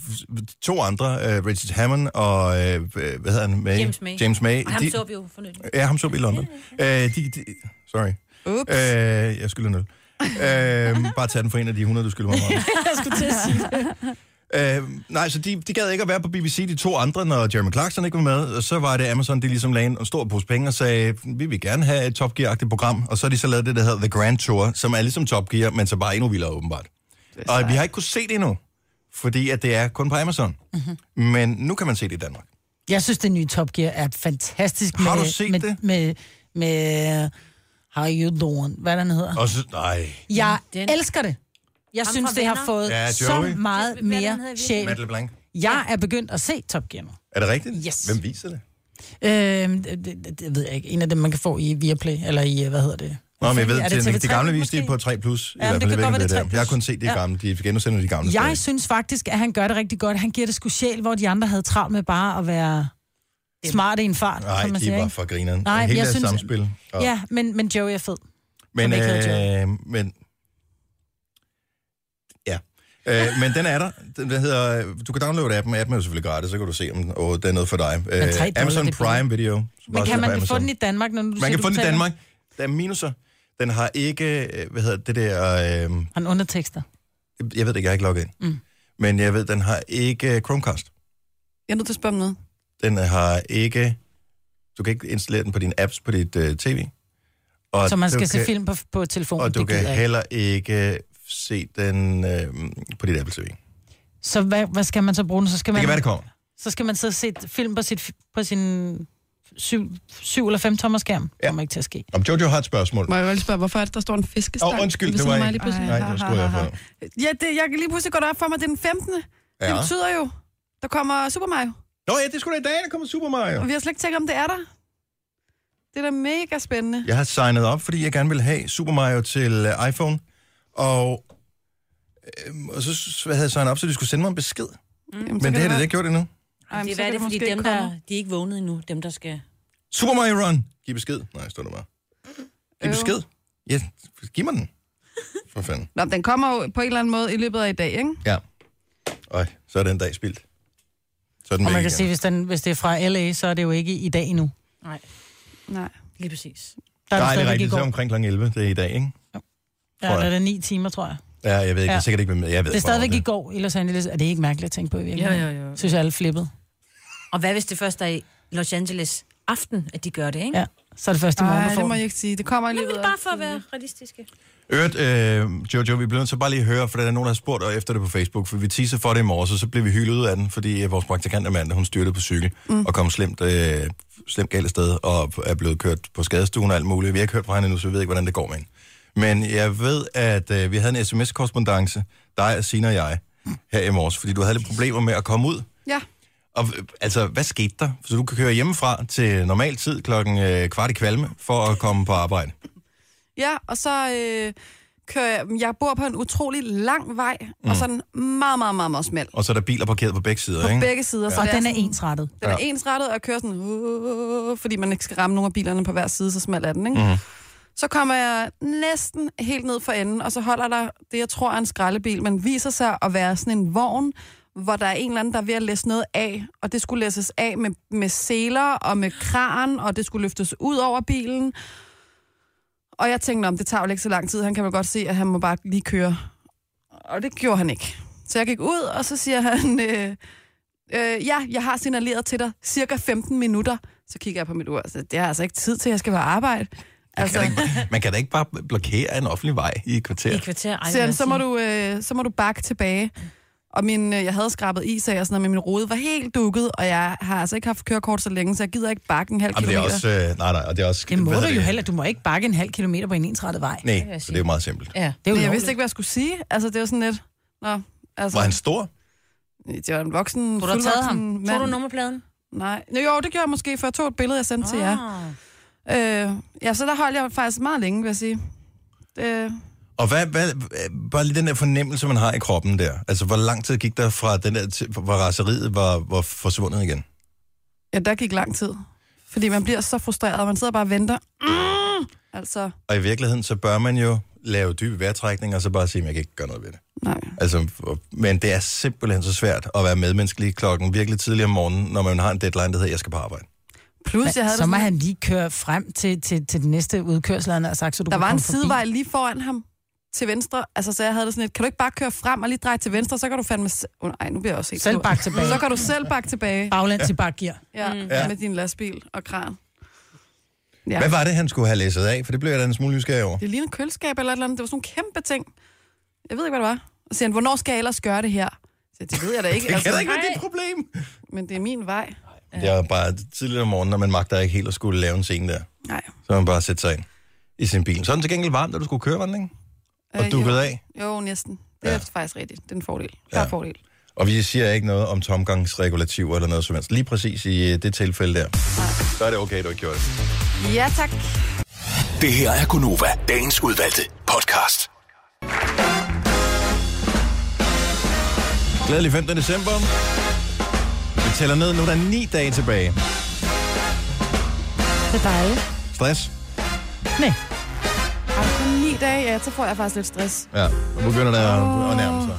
Speaker 1: to andre, øh, Richard Hammond og, øh, hvad hedder han? May?
Speaker 3: James May.
Speaker 1: James May.
Speaker 3: Og ham
Speaker 1: de,
Speaker 3: så vi jo for nylig.
Speaker 1: Ja, ham så vi i London. Øh, de, de, sorry.
Speaker 6: Ups.
Speaker 1: Øh, jeg skylder nul. øh, bare tag den for en af de 100, du skylder mig. Meget.
Speaker 2: [LAUGHS] Jeg skulle til at sige det.
Speaker 1: Øh, nej, så de, de gad ikke at være på BBC, de to andre, når Jeremy Clarkson ikke var med. Og så var det Amazon, de ligesom lagde en stor pose penge og sagde, vi vil gerne have et Top Gear-agtigt program. Og så har de så lavet det, der hedder The Grand Tour, som er ligesom Top Gear, men så bare endnu vildere åbenbart. Og vi
Speaker 2: Mhm.
Speaker 1: har ikke kunnet se det endnu, fordi at det er kun på Amazon. Mm-hmm. Men nu kan man se det i Danmark.
Speaker 2: Jeg synes, det nye Top Gear er fantastisk.
Speaker 1: Har
Speaker 2: med,
Speaker 1: du set
Speaker 2: med,
Speaker 1: det?
Speaker 2: Med, med, øh, How You Doing, hvad den hedder.
Speaker 1: Og så, nej.
Speaker 2: Jeg den. elsker det. Jeg
Speaker 11: Ham
Speaker 2: synes,
Speaker 11: fra
Speaker 2: det har
Speaker 11: Venner.
Speaker 2: fået
Speaker 1: Ja,
Speaker 2: ja,
Speaker 1: Joey.
Speaker 2: så meget mere sjæl.
Speaker 1: Matt LeBlanc.
Speaker 2: Jeg er begyndt at se Top Gear nu.
Speaker 1: Er det rigtigt?
Speaker 2: Yes.
Speaker 1: Hvem viser det?
Speaker 2: Øhm, det, det, det ved jeg ikke. En af dem, man kan få i Viaplay, eller i, øh, hvad hedder det?
Speaker 1: Nå, men jeg ved,
Speaker 2: Er
Speaker 1: at
Speaker 2: det
Speaker 1: de
Speaker 2: TV3
Speaker 1: gamle viste
Speaker 2: måske?
Speaker 1: de er på 3+. Plus, i
Speaker 2: Ja, men
Speaker 1: hvert fald.
Speaker 2: det kan
Speaker 1: Jeg ved ikke,
Speaker 2: godt være, det
Speaker 1: hvad
Speaker 2: er
Speaker 1: det er.
Speaker 2: 3+.
Speaker 1: Jeg har kun set de
Speaker 2: Ja.
Speaker 1: gamle. De genudsender de gamle.
Speaker 2: Jeg
Speaker 1: stadig.
Speaker 2: synes faktisk, at han gør det rigtig godt. Han giver det sgu sjæl, hvor de andre havde travlt med bare at være smarte i en fart,
Speaker 1: Nej,
Speaker 2: som man
Speaker 1: de
Speaker 2: siger,
Speaker 1: var
Speaker 2: ikke?
Speaker 1: for grineren.
Speaker 2: Nej,
Speaker 1: Hele
Speaker 2: men jeg
Speaker 1: deres
Speaker 2: synes-
Speaker 1: samspil. Og-
Speaker 2: Ja, men, men Joey er fed.
Speaker 1: Men,
Speaker 2: Som ikke hedder
Speaker 1: øh, men, ja. Øh, men den er der. Den, den hedder, du kan downloade appen. Appen er jo selvfølgelig gratis, så kan du se, om åh, den er noget for dig. Øh,
Speaker 2: tre dollar,
Speaker 1: Amazon
Speaker 2: det er
Speaker 1: Prime Video. som
Speaker 2: Men
Speaker 1: også
Speaker 2: kan
Speaker 1: er på
Speaker 2: man få
Speaker 1: Amazon.
Speaker 2: den i Danmark, når du siger,
Speaker 1: Man kan
Speaker 2: du
Speaker 1: få den i
Speaker 2: betaler?
Speaker 1: Danmark. Der er minuser. Den har ikke, øh, hvad hedder det der... Øh,
Speaker 2: Han undertekster.
Speaker 1: jeg ved det ikke, jeg er ikke logget ind.
Speaker 2: Mm.
Speaker 1: Men jeg ved, den har ikke øh, Chromecast.
Speaker 6: Jeg er nødt til at spørge om noget.
Speaker 1: Den øh, har ikke... Du kan ikke installere den på dine apps på dit øh, tv.
Speaker 2: Så man
Speaker 1: du
Speaker 2: skal se
Speaker 1: kan-
Speaker 2: film på, på telefonen.
Speaker 1: Og du
Speaker 2: det gider
Speaker 1: kan
Speaker 2: jeg ikke.
Speaker 1: heller ikke øh, se den øh, på dit Apple TV. Det
Speaker 2: Så hvad, hvad skal man så bruge den? Så skal man,
Speaker 1: kan være, det kommer.
Speaker 2: Så skal man sidde og se et film på, sit, på sin 7, 7 eller 5 tommer skærm. Det kommer ikke til at ske.
Speaker 1: Om Jojo har et spørgsmål.
Speaker 6: Må jeg vel spørge, hvorfor er det, der står en fiskestang?
Speaker 1: Åh, undskyld,
Speaker 6: ved
Speaker 2: Ligesom
Speaker 1: det var
Speaker 6: siden
Speaker 1: ikke-
Speaker 6: af mig lige pludselig?
Speaker 1: Nej, det var sgu jeg for.
Speaker 6: Ja, det, jeg kan lige pludselig gå op for mig, det er den 15. Ja. Det
Speaker 1: Ja.
Speaker 6: betyder jo, der kommer Super Mario.
Speaker 1: Nå ja, det er sgu da i dag, der kommer Super Mario.
Speaker 6: Og vi har slet ikke tænkt, om det er der. Det er da mega spændende.
Speaker 1: Jeg har signet op, fordi jeg gerne vil have Super Mario til øh, iPhone. Og, øh, og så s- hvad havde jeg signet op, så de skulle sende mig en besked.
Speaker 6: Jamen,
Speaker 1: Men det har det ikke gjort endnu.
Speaker 3: Ej,
Speaker 6: men
Speaker 3: det
Speaker 6: så
Speaker 3: er,
Speaker 6: kan
Speaker 3: det,
Speaker 6: det
Speaker 3: fordi
Speaker 6: måske
Speaker 3: dem, der,
Speaker 6: komme.
Speaker 3: de er ikke vågnet endnu, dem der skal...
Speaker 1: Super Mario Run. Giv besked. Nej, står der bare. Giv besked. Ja, giv mig den. For fanden.
Speaker 6: Nå, den kommer jo på en eller anden måde i løbet af i dag, ikke?
Speaker 1: [LAUGHS] Ja. Øj, så er den dag spildt. Så er den
Speaker 2: Og
Speaker 1: væk
Speaker 2: man kan
Speaker 1: igen.
Speaker 2: sige, hvis, den, hvis det er fra LA, så er det jo ikke i dag endnu.
Speaker 3: Nej,
Speaker 6: Nej.
Speaker 3: lige præcis.
Speaker 2: Der er
Speaker 1: Nej, det
Speaker 2: det
Speaker 1: er
Speaker 2: stadigvæk
Speaker 1: rigtigt.
Speaker 2: i
Speaker 1: Så er
Speaker 2: går.
Speaker 1: det omkring kl. 11, det er i dag, ikke?
Speaker 2: Ja,
Speaker 1: tror
Speaker 2: der
Speaker 1: jeg.
Speaker 2: er det 9 timer, tror jeg.
Speaker 1: Ja, jeg ved ikke. Ja. Jeg er
Speaker 2: Ja.
Speaker 1: sikkert ikke, hvem jeg ved.
Speaker 2: Det er
Speaker 1: ikke, hvornår
Speaker 2: stadigvæk i går i Los Angeles. Er det ikke mærkeligt at tænke på i virkeligheden?
Speaker 3: Jo, jo, jo.
Speaker 2: Synes jeg, alle flippede.
Speaker 3: Og hvad hvis det først er i Los Angeles aften, at de gør det, ikke?
Speaker 2: Ja. Så er det først i morgen,
Speaker 6: Nej,
Speaker 2: du får
Speaker 6: det må
Speaker 2: den.
Speaker 6: jeg ikke sige. Det kommer i
Speaker 3: Jamen,
Speaker 6: løbet
Speaker 3: det er
Speaker 6: af...
Speaker 3: bare for at være realistiske.
Speaker 1: Øvrigt, øh, Jojo, vi bliver nødt til bare lige at høre, for der er nogen, der har spurgt og efter det på Facebook, for vi teaser for det i morges, og så blev vi hyldet ud af den, fordi øh, vores praktikant Amanda, hun styrtede på cykel mm. og kom slemt, øh, slemt galt af sted og er blevet kørt på skadestuen og alt muligt. Vi har ikke hørt fra hende endnu, så vi ved ikke, hvordan det går med hende. Men jeg ved, at øh, vi havde en sms korrespondance dig, Sina og jeg, her i morges, fordi du havde lidt problemer med at komme ud.
Speaker 6: Ja.
Speaker 1: Og øh, altså, hvad skete der? Så du kan køre hjemmefra til normal tid klokken øh, kvart i kvalme for at komme på arbejde.
Speaker 6: Ja, og så øh, kører jeg... Jeg bor på en utrolig lang vej, mm.
Speaker 1: Mm.
Speaker 6: og sådan meget, meget, meget, meget smal.
Speaker 1: Og så er der biler parkeret på begge sider,
Speaker 6: På
Speaker 1: ikke?
Speaker 6: begge sider. Så
Speaker 2: Og
Speaker 6: det
Speaker 2: den er
Speaker 6: sådan-
Speaker 2: ensrettet.
Speaker 6: Den er
Speaker 1: Ja.
Speaker 6: ensrettet og kører sådan, uh, fordi man ikke skal ramme nogen af bilerne på hver side, så smal er den, ikke?
Speaker 1: Mhm.
Speaker 6: Mm. Så kommer jeg næsten helt ned for enden, og så holder der det, jeg tror er en skraldebil, men viser sig at være sådan en vogn, hvor der er en eller anden, der er ved at læse noget af, og det skulle læses af med, med seler og med kran, og det skulle løftes ud over bilen. Og jeg tænkte, om det tager jo ikke så lang tid, han kan vel godt se, at han må bare lige køre. Og det gjorde han ikke. Så jeg gik ud, og så siger han, [LAUGHS] øh, øh, ja, jeg har signaleret til dig cirka 15 minutter. Så kigger jeg på mit ur, så det har jeg altså ikke tid til, jeg skal være arbejde. Altså,
Speaker 1: Kan der ikke, man kan da ikke bare blokere en offentlig vej i et kvarter.
Speaker 3: I kvarter, ej,
Speaker 6: så,
Speaker 3: hvad
Speaker 6: så, må
Speaker 3: siger-
Speaker 6: du, øh, så må du bakke tilbage. Og min, øh, jeg havde skrabet is af, og sådan noget, men min rode var helt dukket, og jeg har altså ikke haft kørekort så længe, så jeg gider ikke bakke en halv
Speaker 1: Jamen, det
Speaker 6: kilometer.
Speaker 1: er også... Øh, nej, nej, og det er også...
Speaker 2: Det må
Speaker 1: hvad
Speaker 2: du
Speaker 1: hedder
Speaker 2: jo heller. Du må ikke bakke en halv kilometer på en ensrettet vej.
Speaker 1: Nej, så det er jo meget simpelt.
Speaker 2: Ja, det er
Speaker 6: Men
Speaker 2: jo
Speaker 6: jeg vidste ikke, hvad jeg skulle sige. Altså, det var sådan lidt... Nå, altså,
Speaker 1: Var han stor?
Speaker 6: det var en voksen,
Speaker 3: Tror du, du har taget ham?
Speaker 6: fuldvoksen
Speaker 3: Tror
Speaker 6: mand.
Speaker 3: du nummerpladen?
Speaker 6: Nej. Nå, Jo, det gjorde jeg måske, for jeg tog et billede, jeg sendte ah. til jer.
Speaker 3: Ah.
Speaker 6: Øh, ja, så der holdt jeg faktisk meget længe, vil jeg sige. Øh,
Speaker 1: Og hvad, hvad, bare lige den der fornemmelse, man har i kroppen der. Altså, hvor lang tid gik der fra den der, til- hvor raseriet var, var forsvundet igen?
Speaker 6: ja, der gik lang tid. Fordi man bliver så frustreret, man sidder bare og venter. Mm! Altså,
Speaker 1: Og i virkeligheden, så bør man jo lave dybe vejrtrækninger, og så bare sige, at jeg kan ikke gøre noget ved det.
Speaker 6: nej.
Speaker 1: Altså, og- men det er simpelthen så svært at være medmenneskelig klokken virkelig tidlig om morgenen, når man har en deadline, der hedder, jeg skal på arbejde.
Speaker 6: Plus, jeg havde det
Speaker 2: Så må
Speaker 6: sådan,
Speaker 2: han lige køre frem til, til, til den næste udkørsel, han har sagt, så du
Speaker 6: der
Speaker 2: kan
Speaker 6: var en
Speaker 2: komme forbi.
Speaker 6: sidevej lige foran ham til venstre. Altså, så jeg havde det sådan lidt, kan du ikke bare køre frem og lige dreje til venstre, så kan du fandme... se- Oh, nej, nu bliver jeg også helt
Speaker 2: Selv
Speaker 6: sur.
Speaker 2: bakke Mm. tilbage.
Speaker 6: Så kan du selv bakke tilbage
Speaker 2: Bagland til bakgear.
Speaker 6: ja,
Speaker 1: Ja.
Speaker 6: ja. med din lastbil og kran.
Speaker 1: Ja.
Speaker 6: Ja.
Speaker 1: Hvad var det, han skulle have læsset af? For det blev jeg da en smule nysgerrig over.
Speaker 6: Det ligner et køleskab eller et eller andet. Det var sådan nogle kæmpe ting. Jeg ved ikke, hvad det var. Og så
Speaker 1: [LAUGHS]
Speaker 6: siger han,
Speaker 2: Altså,
Speaker 6: hvornår skal jeg ellers gøre det her? Så jeg, det ved jeg da ikke. Altså,
Speaker 1: Det kan da ikke være dit problem.
Speaker 6: Men det er min vej.
Speaker 1: Jeg er bare tidligere om morgenen, når man magter ikke helt at skulle lave en scene der.
Speaker 6: Nej.
Speaker 1: Så man bare sætte sig ind i sin bil. Så er den til gengæld varm, da du skulle køre, var den, ikke? Og
Speaker 6: Øh,
Speaker 1: dukket
Speaker 6: jo.
Speaker 1: af.
Speaker 6: Jo, næsten. Det er ja. faktisk rigtigt. Det er en fordel. Ja.
Speaker 1: Ja.
Speaker 6: Der er fordel.
Speaker 1: Og vi siger ikke noget om tomgangsregulativer eller noget som helst. Lige præcis i øh, det tilfælde der. Så er det okay, du ikke gjorde det.
Speaker 6: Ja, tak.
Speaker 4: Det her er Gunova, dagens udvalgte podcast.
Speaker 1: Glædelig 15. december. Vi tæller ned. Nu er der ni dage tilbage.
Speaker 12: Det er dejligt.
Speaker 1: Stress?
Speaker 12: Nej.
Speaker 6: Har du kun ni dage? Ja, så får jeg faktisk lidt stress.
Speaker 1: Ja, nu begynder det at, at nærme sig.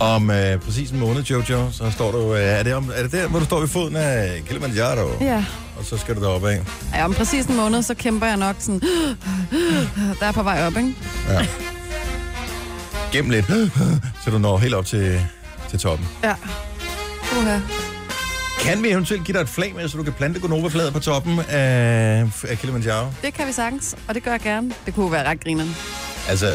Speaker 1: Om øh, præcis en måned, Jojo, så står du... Øh, er, det om, er det der, hvor du står ved foden af Kilimanjaro?
Speaker 6: Ja.
Speaker 1: Og så skal du deroppe af.
Speaker 6: ja. om præcis en måned, så kæmper jeg nok sådan... [GASPS] Der er på vej op, ikke?
Speaker 1: Ja. Gem lidt, så du når helt op til, til toppen.
Speaker 6: Ja. Uha.
Speaker 1: Kan vi eventuelt give dig et flag med, så du kan plante gonova-flaget på toppen af, af Kilimanjaro?
Speaker 6: Det kan vi sagtens, og det gør jeg gerne. Det kunne jo være ret grineren.
Speaker 1: Altså,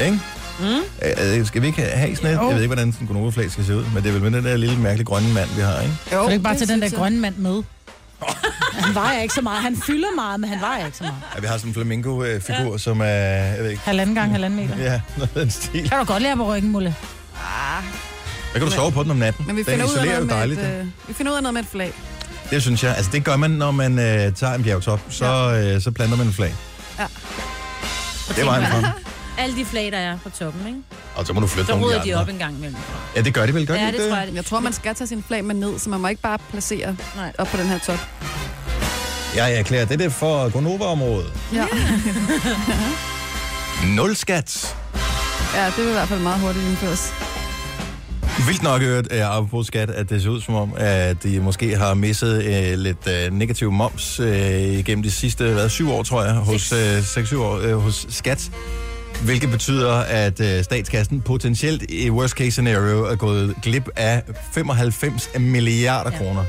Speaker 1: ikke?
Speaker 6: Mm.
Speaker 1: Øh, øh, skal vi ikke have sådan et? Jeg ved ikke, hvordan sådan en gonova-flag skal se ud, men det er vel med den der lille mærkelige grønne mand, vi har, ikke?
Speaker 12: Jo, kan du ikke bare
Speaker 6: det
Speaker 12: tage den der
Speaker 6: synes jeg.
Speaker 12: grønne mand med? [LAUGHS] Han vejer ikke så meget. Han fylder meget, men han vejer ikke så meget.
Speaker 1: At vi har sådan en flamingo-figur, ja. som er... Jeg ved ikke,
Speaker 12: Halvanden gang, halvanden meter.
Speaker 1: Ja, noget af den stil.
Speaker 12: Kan du godt lære på ryggen, Mulle?
Speaker 1: Der kan du sove på den om natten.
Speaker 6: Men vi
Speaker 1: den
Speaker 6: finder, ud af
Speaker 1: isolerer jo
Speaker 6: noget med
Speaker 1: dejligt.
Speaker 6: et,
Speaker 1: Det.
Speaker 6: øh, vi finder ud af noget med et flag.
Speaker 1: det synes jeg. Altså, det gør man, når man øh, tager en bjergtop. Så, ja. øh, så planter man en flag.
Speaker 6: Ja.
Speaker 1: Det var en frem.
Speaker 3: Alle de flag, der er på toppen, ikke?
Speaker 1: Og så må du flytte
Speaker 3: Så
Speaker 1: nogle
Speaker 3: rydder
Speaker 1: af
Speaker 3: de
Speaker 1: andre.
Speaker 3: op en gang imellem.
Speaker 1: Ja, det gør de vel. Gør de
Speaker 3: Ja,
Speaker 1: ikke
Speaker 3: det tror jeg, det-
Speaker 6: Jeg tror, man skal tage sin flag med ned, så man må ikke bare placere Nej. op på den her top.
Speaker 1: Jeg erklærer det der for Gonova-området.
Speaker 6: Ja.
Speaker 1: [LAUGHS] Nul skat.
Speaker 6: ja, det vil i hvert fald meget hurtigt indføres.
Speaker 1: Vildt nok hørt, øh, apropos skat, at det ser ud som om, at de måske har misset øh, lidt øh, negativ moms øh, gennem de sidste hvad, syv år, tror jeg, hos, øh, 6, 7 år, øh, hos skat. Hvilket betyder, at øh, statskassen potentielt i worst case scenario er gået glip af 95 milliarder ja. kroner.
Speaker 12: Det,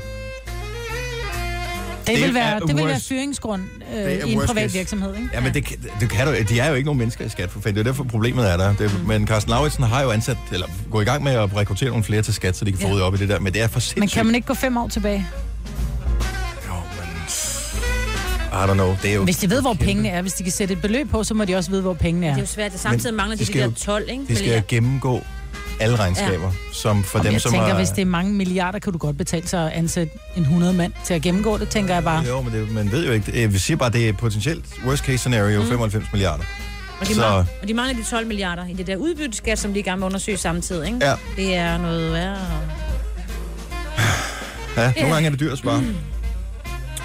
Speaker 1: Det
Speaker 12: det vil
Speaker 1: er
Speaker 12: være, det vil være
Speaker 1: worst-
Speaker 12: fyringsgrund øh,
Speaker 1: det er
Speaker 12: i en
Speaker 1: worst
Speaker 12: privat
Speaker 1: case.
Speaker 12: virksomhed, ikke?
Speaker 1: Ja, men det, kan- det kan du, de er jo ikke nogen mennesker i skat, for fanden. Det er jo derfor, problemet er der. Det, mm. Men Carsten Lauritsen har jo ansat, eller gået i gang med at rekruttere nogle flere til skat, så de kan få
Speaker 12: Ja.
Speaker 1: ryddet op i det der. Men det er for sindssygt.
Speaker 12: Men kan man ikke gå fem år tilbage?
Speaker 1: I don't know. Det er jo...
Speaker 12: Hvis de ved, hvor pengene er, hvis de kan sætte et beløb på, så må de også vide, hvor pengene er.
Speaker 3: Det er jo svært. Det samtidig
Speaker 1: Men
Speaker 3: mangler de,
Speaker 1: de
Speaker 3: de,
Speaker 1: skal
Speaker 3: der
Speaker 1: jo-
Speaker 3: 12, ikke?
Speaker 1: De skal jo gennemgå alle regnskaber, ja. som for
Speaker 12: Om
Speaker 1: dem,
Speaker 12: jeg
Speaker 1: som
Speaker 12: tænker,
Speaker 1: har...
Speaker 12: hvis det er mange milliarder, kan du godt betale sig at ansætte en 100 mand til at gennemgå det, tænker jeg bare.
Speaker 1: Jo, men det, man ved jo ikke. Øh, Vi siger bare, det er potentielt worst case scenario, mm. 95 milliarder.
Speaker 3: Og de, mangler, og de mangler de 12 milliarder i det der udbytteskat, som de er i gang med at undersøge samtidig, ikke?
Speaker 1: Ja.
Speaker 3: Det er noget værre.
Speaker 1: Ja, nogle
Speaker 3: Ja.
Speaker 1: gange er det dyrt at spare. Mm.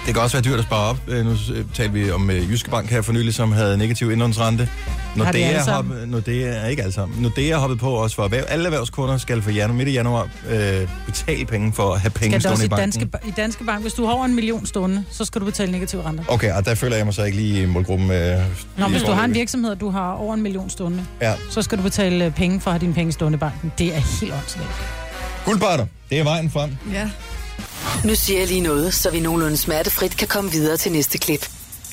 Speaker 1: Det kan også være dyrt at spare op. Øh, Nu øh, talte vi om øh, Jyske Bank her for nylig, som havde negativ indlånsrente.
Speaker 12: Har de alle
Speaker 1: Nordea,
Speaker 12: sammen?
Speaker 1: hoppede, Nordea, ikke alle sammen. Nordea hoppede på også for erhverv. Alle erhvervskunder skal for januar, midt i januar øh, betale penge for at have penge
Speaker 12: Skal det
Speaker 1: stående
Speaker 12: også
Speaker 1: i
Speaker 12: i
Speaker 1: banken.
Speaker 12: danske, i danske Bank, hvis du har over en million stående, så skal du betale negative renter.
Speaker 1: Okay, og der føler jeg mig så ikke lige i målgruppen. Øh,
Speaker 12: Nå,
Speaker 1: lige
Speaker 12: hvis du har en
Speaker 1: foreløbig.
Speaker 12: virksomhed, og du har over en million stående,
Speaker 1: Ja.
Speaker 12: så skal du betale øh, penge for at have dine penge stående i banken. Det er helt åndssvagt.
Speaker 1: Guldbarter, det er vejen frem.
Speaker 6: Ja.
Speaker 5: Nu siger jeg lige noget, så vi nogenlunde smertefrit kan komme videre til næste klip.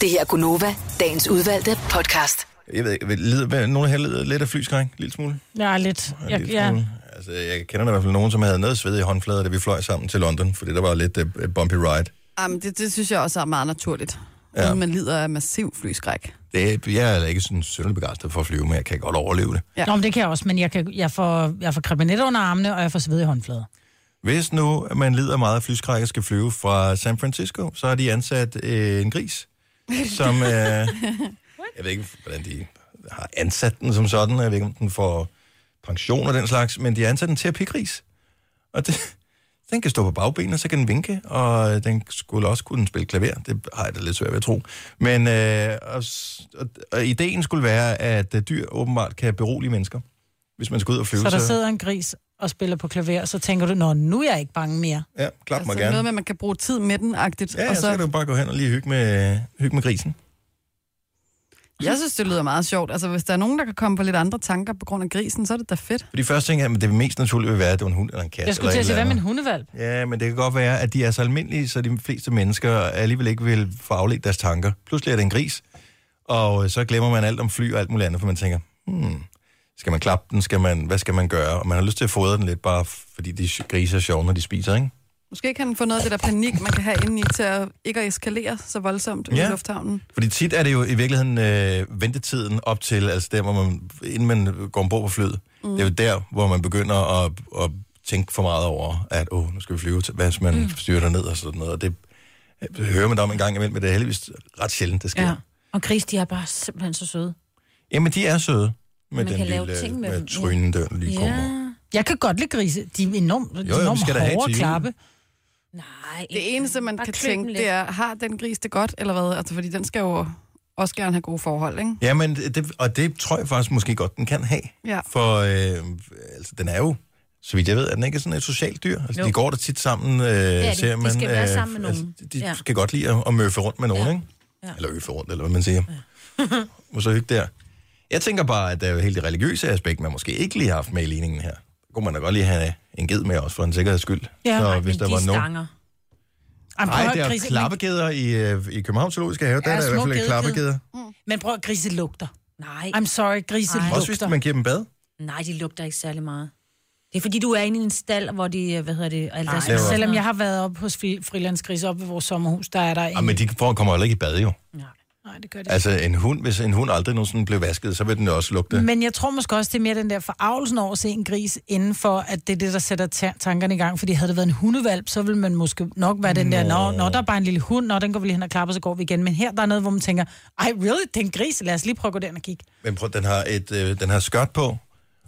Speaker 5: Det her er Gunova, dagens udvalgte podcast.
Speaker 1: Jeg ved ikke, lider, hvad- nogen her lider lidt af flyskræk, en lille smule.
Speaker 12: Ja, lidt.
Speaker 1: En
Speaker 12: Jeg,
Speaker 1: lille
Speaker 12: ja.
Speaker 1: smule. Altså, jeg kender da i hvert fald nogen, som havde noget sved i håndflader, da vi fløj sammen til London, fordi der var lidt uh, bumpy ride.
Speaker 6: Jamen, det, det synes jeg også er meget naturligt.
Speaker 1: Ja.
Speaker 6: Ja. Man lider af massiv flyskræk.
Speaker 1: Det, jeg er da ikke sådan synderligt begejstret for at flyve, men jeg kan godt overleve det.
Speaker 12: Ja. Nå, men det kan jeg også, men jeg, kan, jeg får, jeg får krebinetter under armene, og jeg får sved i håndflader.
Speaker 1: Hvis nu at man lider meget af flyskræk og skal flyve fra San Francisco, så har de ansat øh, en gris, som... Øh, jeg ved ikke, hvordan de har ansat den som sådan. Jeg ved ikke, om den får pension og den slags, men de har ansat den til at pikke ris. Og det, den kan stå på bagbenene, så kan den vinke, og den skulle også kunne spille klaver. Det har jeg da lidt svært ved at tro. Men øh, og, s- og, og ideen skulle være, at øh, dyr åbenbart kan berolige mennesker, hvis man skal ud og flyve.
Speaker 12: Så der sidder en gris og spiller på klaver, og så tænker du, nå, nu er jeg ikke bange mere.
Speaker 1: Ja, klap altså, mig
Speaker 6: Altså
Speaker 1: gerne.
Speaker 6: noget med, at man kan bruge tid med den-agtigt.
Speaker 1: Ja,
Speaker 6: og
Speaker 1: så... så kan du bare gå hen og lige hygge med, hygge med grisen.
Speaker 6: Jeg synes, det lyder meget sjovt. Altså, hvis der er nogen, der kan komme på lidt andre tanker på grund af grisen, så er det da fedt.
Speaker 1: For de første ting er, at det mest naturlige vil være, at det var en hund eller en kat.
Speaker 12: Jeg skulle til
Speaker 1: eller
Speaker 12: at sige,
Speaker 1: et
Speaker 12: hvad
Speaker 1: eller
Speaker 12: med en
Speaker 1: andet.
Speaker 12: hundevalp?
Speaker 1: Ja, men det kan godt være, at de er så almindelige, så de fleste mennesker alligevel ikke vil få afledt deres tanker. Pludselig er det en gris, og øh, så glemmer man alt om fly og alt muligt andet, for man tænker, hmm, skal man klappe den, skal man, hvad skal man gøre? Og man har lyst til at fodre den lidt, bare fordi de grise er sjove, når de spiser, ikke?
Speaker 6: Måske kan den få noget af det der panik, man kan have indeni til at ikke at eskalere så voldsomt ja.
Speaker 1: Ja.
Speaker 6: i lufthavnen.
Speaker 1: Fordi tit er det jo i virkeligheden øh, ventetiden op til, altså der, hvor man, inden man går ombord på flyet, mm. det er jo der, hvor man begynder at, at tænke for meget over, at åh, nu skal vi flyve, til, hvad hvis man mm. styrter ned og sådan noget. Og det øh, hører man da om en gang imellem, men det er heldigvis ret sjældent, det sker. Ja.
Speaker 3: Ja. Og gris, de er bare simpelthen så søde.
Speaker 1: Jamen, de er søde med
Speaker 3: Man
Speaker 1: den
Speaker 3: kan
Speaker 1: lille
Speaker 3: lave ting med
Speaker 1: med
Speaker 3: dem, ja.
Speaker 1: trynen der lige kommer.
Speaker 2: Jeg kan godt lide grise. De er enormt,
Speaker 1: jo, vi
Speaker 2: enormt
Speaker 1: skal da have
Speaker 2: hårde
Speaker 1: til
Speaker 2: at
Speaker 1: jul.
Speaker 2: klappe.
Speaker 3: Nej,
Speaker 6: Det eneste, man
Speaker 3: Bare
Speaker 6: kan
Speaker 3: klø dem
Speaker 6: tænke,
Speaker 3: lidt.
Speaker 6: det er, har den gris det godt, eller hvad? Altså, fordi den skal jo også gerne have gode forhold, ikke?
Speaker 1: Jamen, det, og det tror jeg faktisk måske godt, den kan have.
Speaker 6: Ja.
Speaker 1: For øh, altså, den er jo, så vidt jeg ved, at den ikke er sådan et socialt dyr. Altså,
Speaker 3: Jo.
Speaker 1: de går der tit sammen, øh, ja,
Speaker 3: de-
Speaker 1: ser
Speaker 3: de
Speaker 1: man.
Speaker 3: skal være sammen med
Speaker 1: altså,
Speaker 3: nogen.
Speaker 1: de
Speaker 3: Ja.
Speaker 1: ja. kan godt lide at, at møffe rundt med nogen, ja. ikke?
Speaker 3: Ja.
Speaker 1: Ja. Eller øffe rundt, eller hvad man siger. [LAUGHS] Ja. og så hygge der. Jeg tænker bare, at der er jo helt det religiøse aspekt, man måske ikke lige har haft med i ligningen her. Det kunne man da godt lige have en ged med også, for en sikkerheds skyld.
Speaker 2: Ja,
Speaker 1: så
Speaker 2: nej,
Speaker 1: hvis der
Speaker 3: de
Speaker 1: var nogen...
Speaker 3: stanger.
Speaker 2: Ej, prøv at
Speaker 1: Nej,
Speaker 2: høre,
Speaker 1: der er
Speaker 2: grise-
Speaker 1: klappegeder i, øh, i Københavns Zoologiske Have. Der
Speaker 2: Ja,
Speaker 1: er der i hvert
Speaker 2: små
Speaker 1: fald
Speaker 2: gedekid.
Speaker 1: klappegeder.
Speaker 2: Men prøv at grise lugter.
Speaker 3: Nej,
Speaker 2: I'm sorry, grise
Speaker 3: Ej.
Speaker 1: Også hvis
Speaker 2: lugter.
Speaker 1: man giver dem bad.
Speaker 3: nej, de lugter ikke særlig meget. Det er fordi, du er inde i en stald, hvor de, øh, hvad hedder det, altså, alt
Speaker 1: det var-
Speaker 2: Selvom jeg har været oppe hos fri- frilandsgrise oppe ved vores sommerhus, der er der
Speaker 1: Ja,
Speaker 2: en...
Speaker 1: men de får- kommer heller ikke i bad, jo.
Speaker 2: Nej, det gør det
Speaker 1: Altså en hund, hvis en hund aldrig nogensinde blev vasket, så vil den jo også lugte.
Speaker 2: Men jeg tror måske også, det er mere den der forarvelsen over at se en gris inden for, at det er det, der sætter ta- tankerne i gang. Fordi havde det været en hundevalp, så ville man måske nok være den der, nå, nå der er bare en lille hund, nå, den går vi lige hen og klapper, så går vi igen. Men her, der er noget, hvor man tænker, ej, really, den gris, lad os lige prøve at gå derind og kigge.
Speaker 1: Men prøv, den har, et, øh, den har skørt på,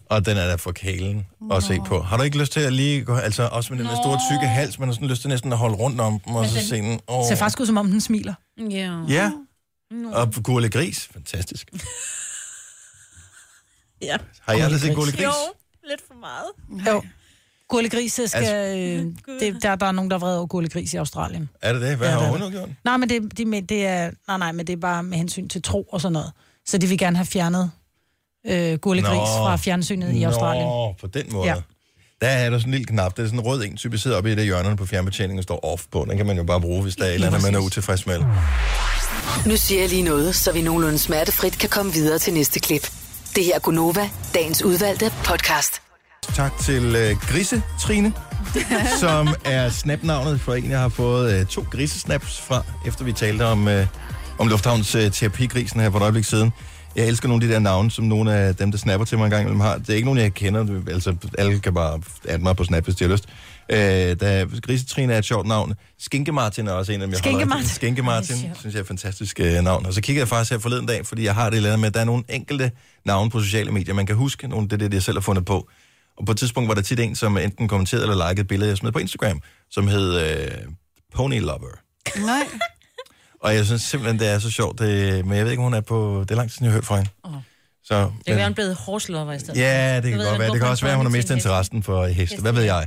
Speaker 1: og den er der for kælen at se på. Har du ikke lyst til at lige gå, altså også med den der store tykke hals, man har sådan lyst til næsten at holde rundt om dem, og så se den.
Speaker 2: Oh.
Speaker 1: Oh.
Speaker 2: Ser faktisk Mm. ud, som om den smiler.
Speaker 3: Ja.
Speaker 1: Ja, og gurle gris,
Speaker 2: [LAUGHS]
Speaker 1: fantastisk.
Speaker 3: ja.
Speaker 1: Har jeg aldrig set gurle
Speaker 2: Gurle gris.
Speaker 1: gris?
Speaker 3: lidt for meget.
Speaker 2: Jo. Gurlegris skal... Altså, øh, det, der, der er nogen, der er vrede over gurlegris i Australien.
Speaker 1: Er det det? Hvad
Speaker 2: Ja,
Speaker 1: har
Speaker 2: det er
Speaker 1: hun
Speaker 2: det.
Speaker 1: nu gjort?
Speaker 2: Nej, men det, de, men det er, nej, nej, men det er bare med hensyn til tro og sådan noget. Så de vil gerne have fjernet øh, gurlegris
Speaker 1: Nå.
Speaker 2: fra fjernsynet i Australien.
Speaker 1: Nå, på den måde.
Speaker 2: Ja.
Speaker 1: Ja. Der er der sådan en lille knap, der er sådan en rød en, typisk sidder oppe i det hjørne på fjernbetjeningen og står off på. Den kan man jo bare bruge, hvis der er et eller andet, man er utilfreds med.
Speaker 5: Nu siger jeg lige noget, så vi nogenlunde smertefrit kan komme videre til næste klip. Det her er Gunova, dagens udvalgte podcast.
Speaker 1: Tak til øh, Grise
Speaker 2: [LAUGHS]
Speaker 1: Trine, som er snapnavnet for en, jeg har fået øh, to grisesnaps fra, efter vi talte om, øh, om Lufthavns øh, terapigrisen her for et øjeblik siden. Jeg elsker nogle af de der navne, som nogle af dem, der snapper til mig en gang imellem har. Det er ikke nogen, jeg kender. Det- Altså, alle kan bare adde mig på snap, hvis de har lyst. Øh, da Grisetrine er et sjovt navn. Skinke Martin er også en af dem, jeg
Speaker 2: Skinke
Speaker 1: holder
Speaker 2: Martin.
Speaker 1: rigtig- Skinke Martin,
Speaker 2: Ej, sjovt.
Speaker 1: synes jeg er et fantastisk øh, navn. Og så kigger jeg faktisk her forleden dag, fordi jeg har det lavet med, at der er nogle enkelte navne på sociale medier, man kan huske. Nogle, det er det, jeg selv har fundet på. Og på et tidspunkt var der tit en, som enten kommenterede eller likede billeder, jeg smed på Instagram, som hed øh, Pony Lover.
Speaker 6: Nej.
Speaker 1: Og jeg synes simpelthen, det er så sjovt. Det, men jeg ved ikke, om hun er på... Det er lang tid, siden jeg har hørt fra hende.
Speaker 3: Åh.
Speaker 1: Så, det
Speaker 3: Det kan være, han blevet horslover i stedet.
Speaker 1: Ja, det
Speaker 3: Så
Speaker 1: kan
Speaker 3: ved
Speaker 1: godt
Speaker 3: han,
Speaker 1: være. Det
Speaker 3: hvorfor
Speaker 1: kan
Speaker 3: han
Speaker 1: også være, hun har
Speaker 3: får
Speaker 1: mistet
Speaker 3: en til en
Speaker 1: interessen for heste. Hvad ved jeg?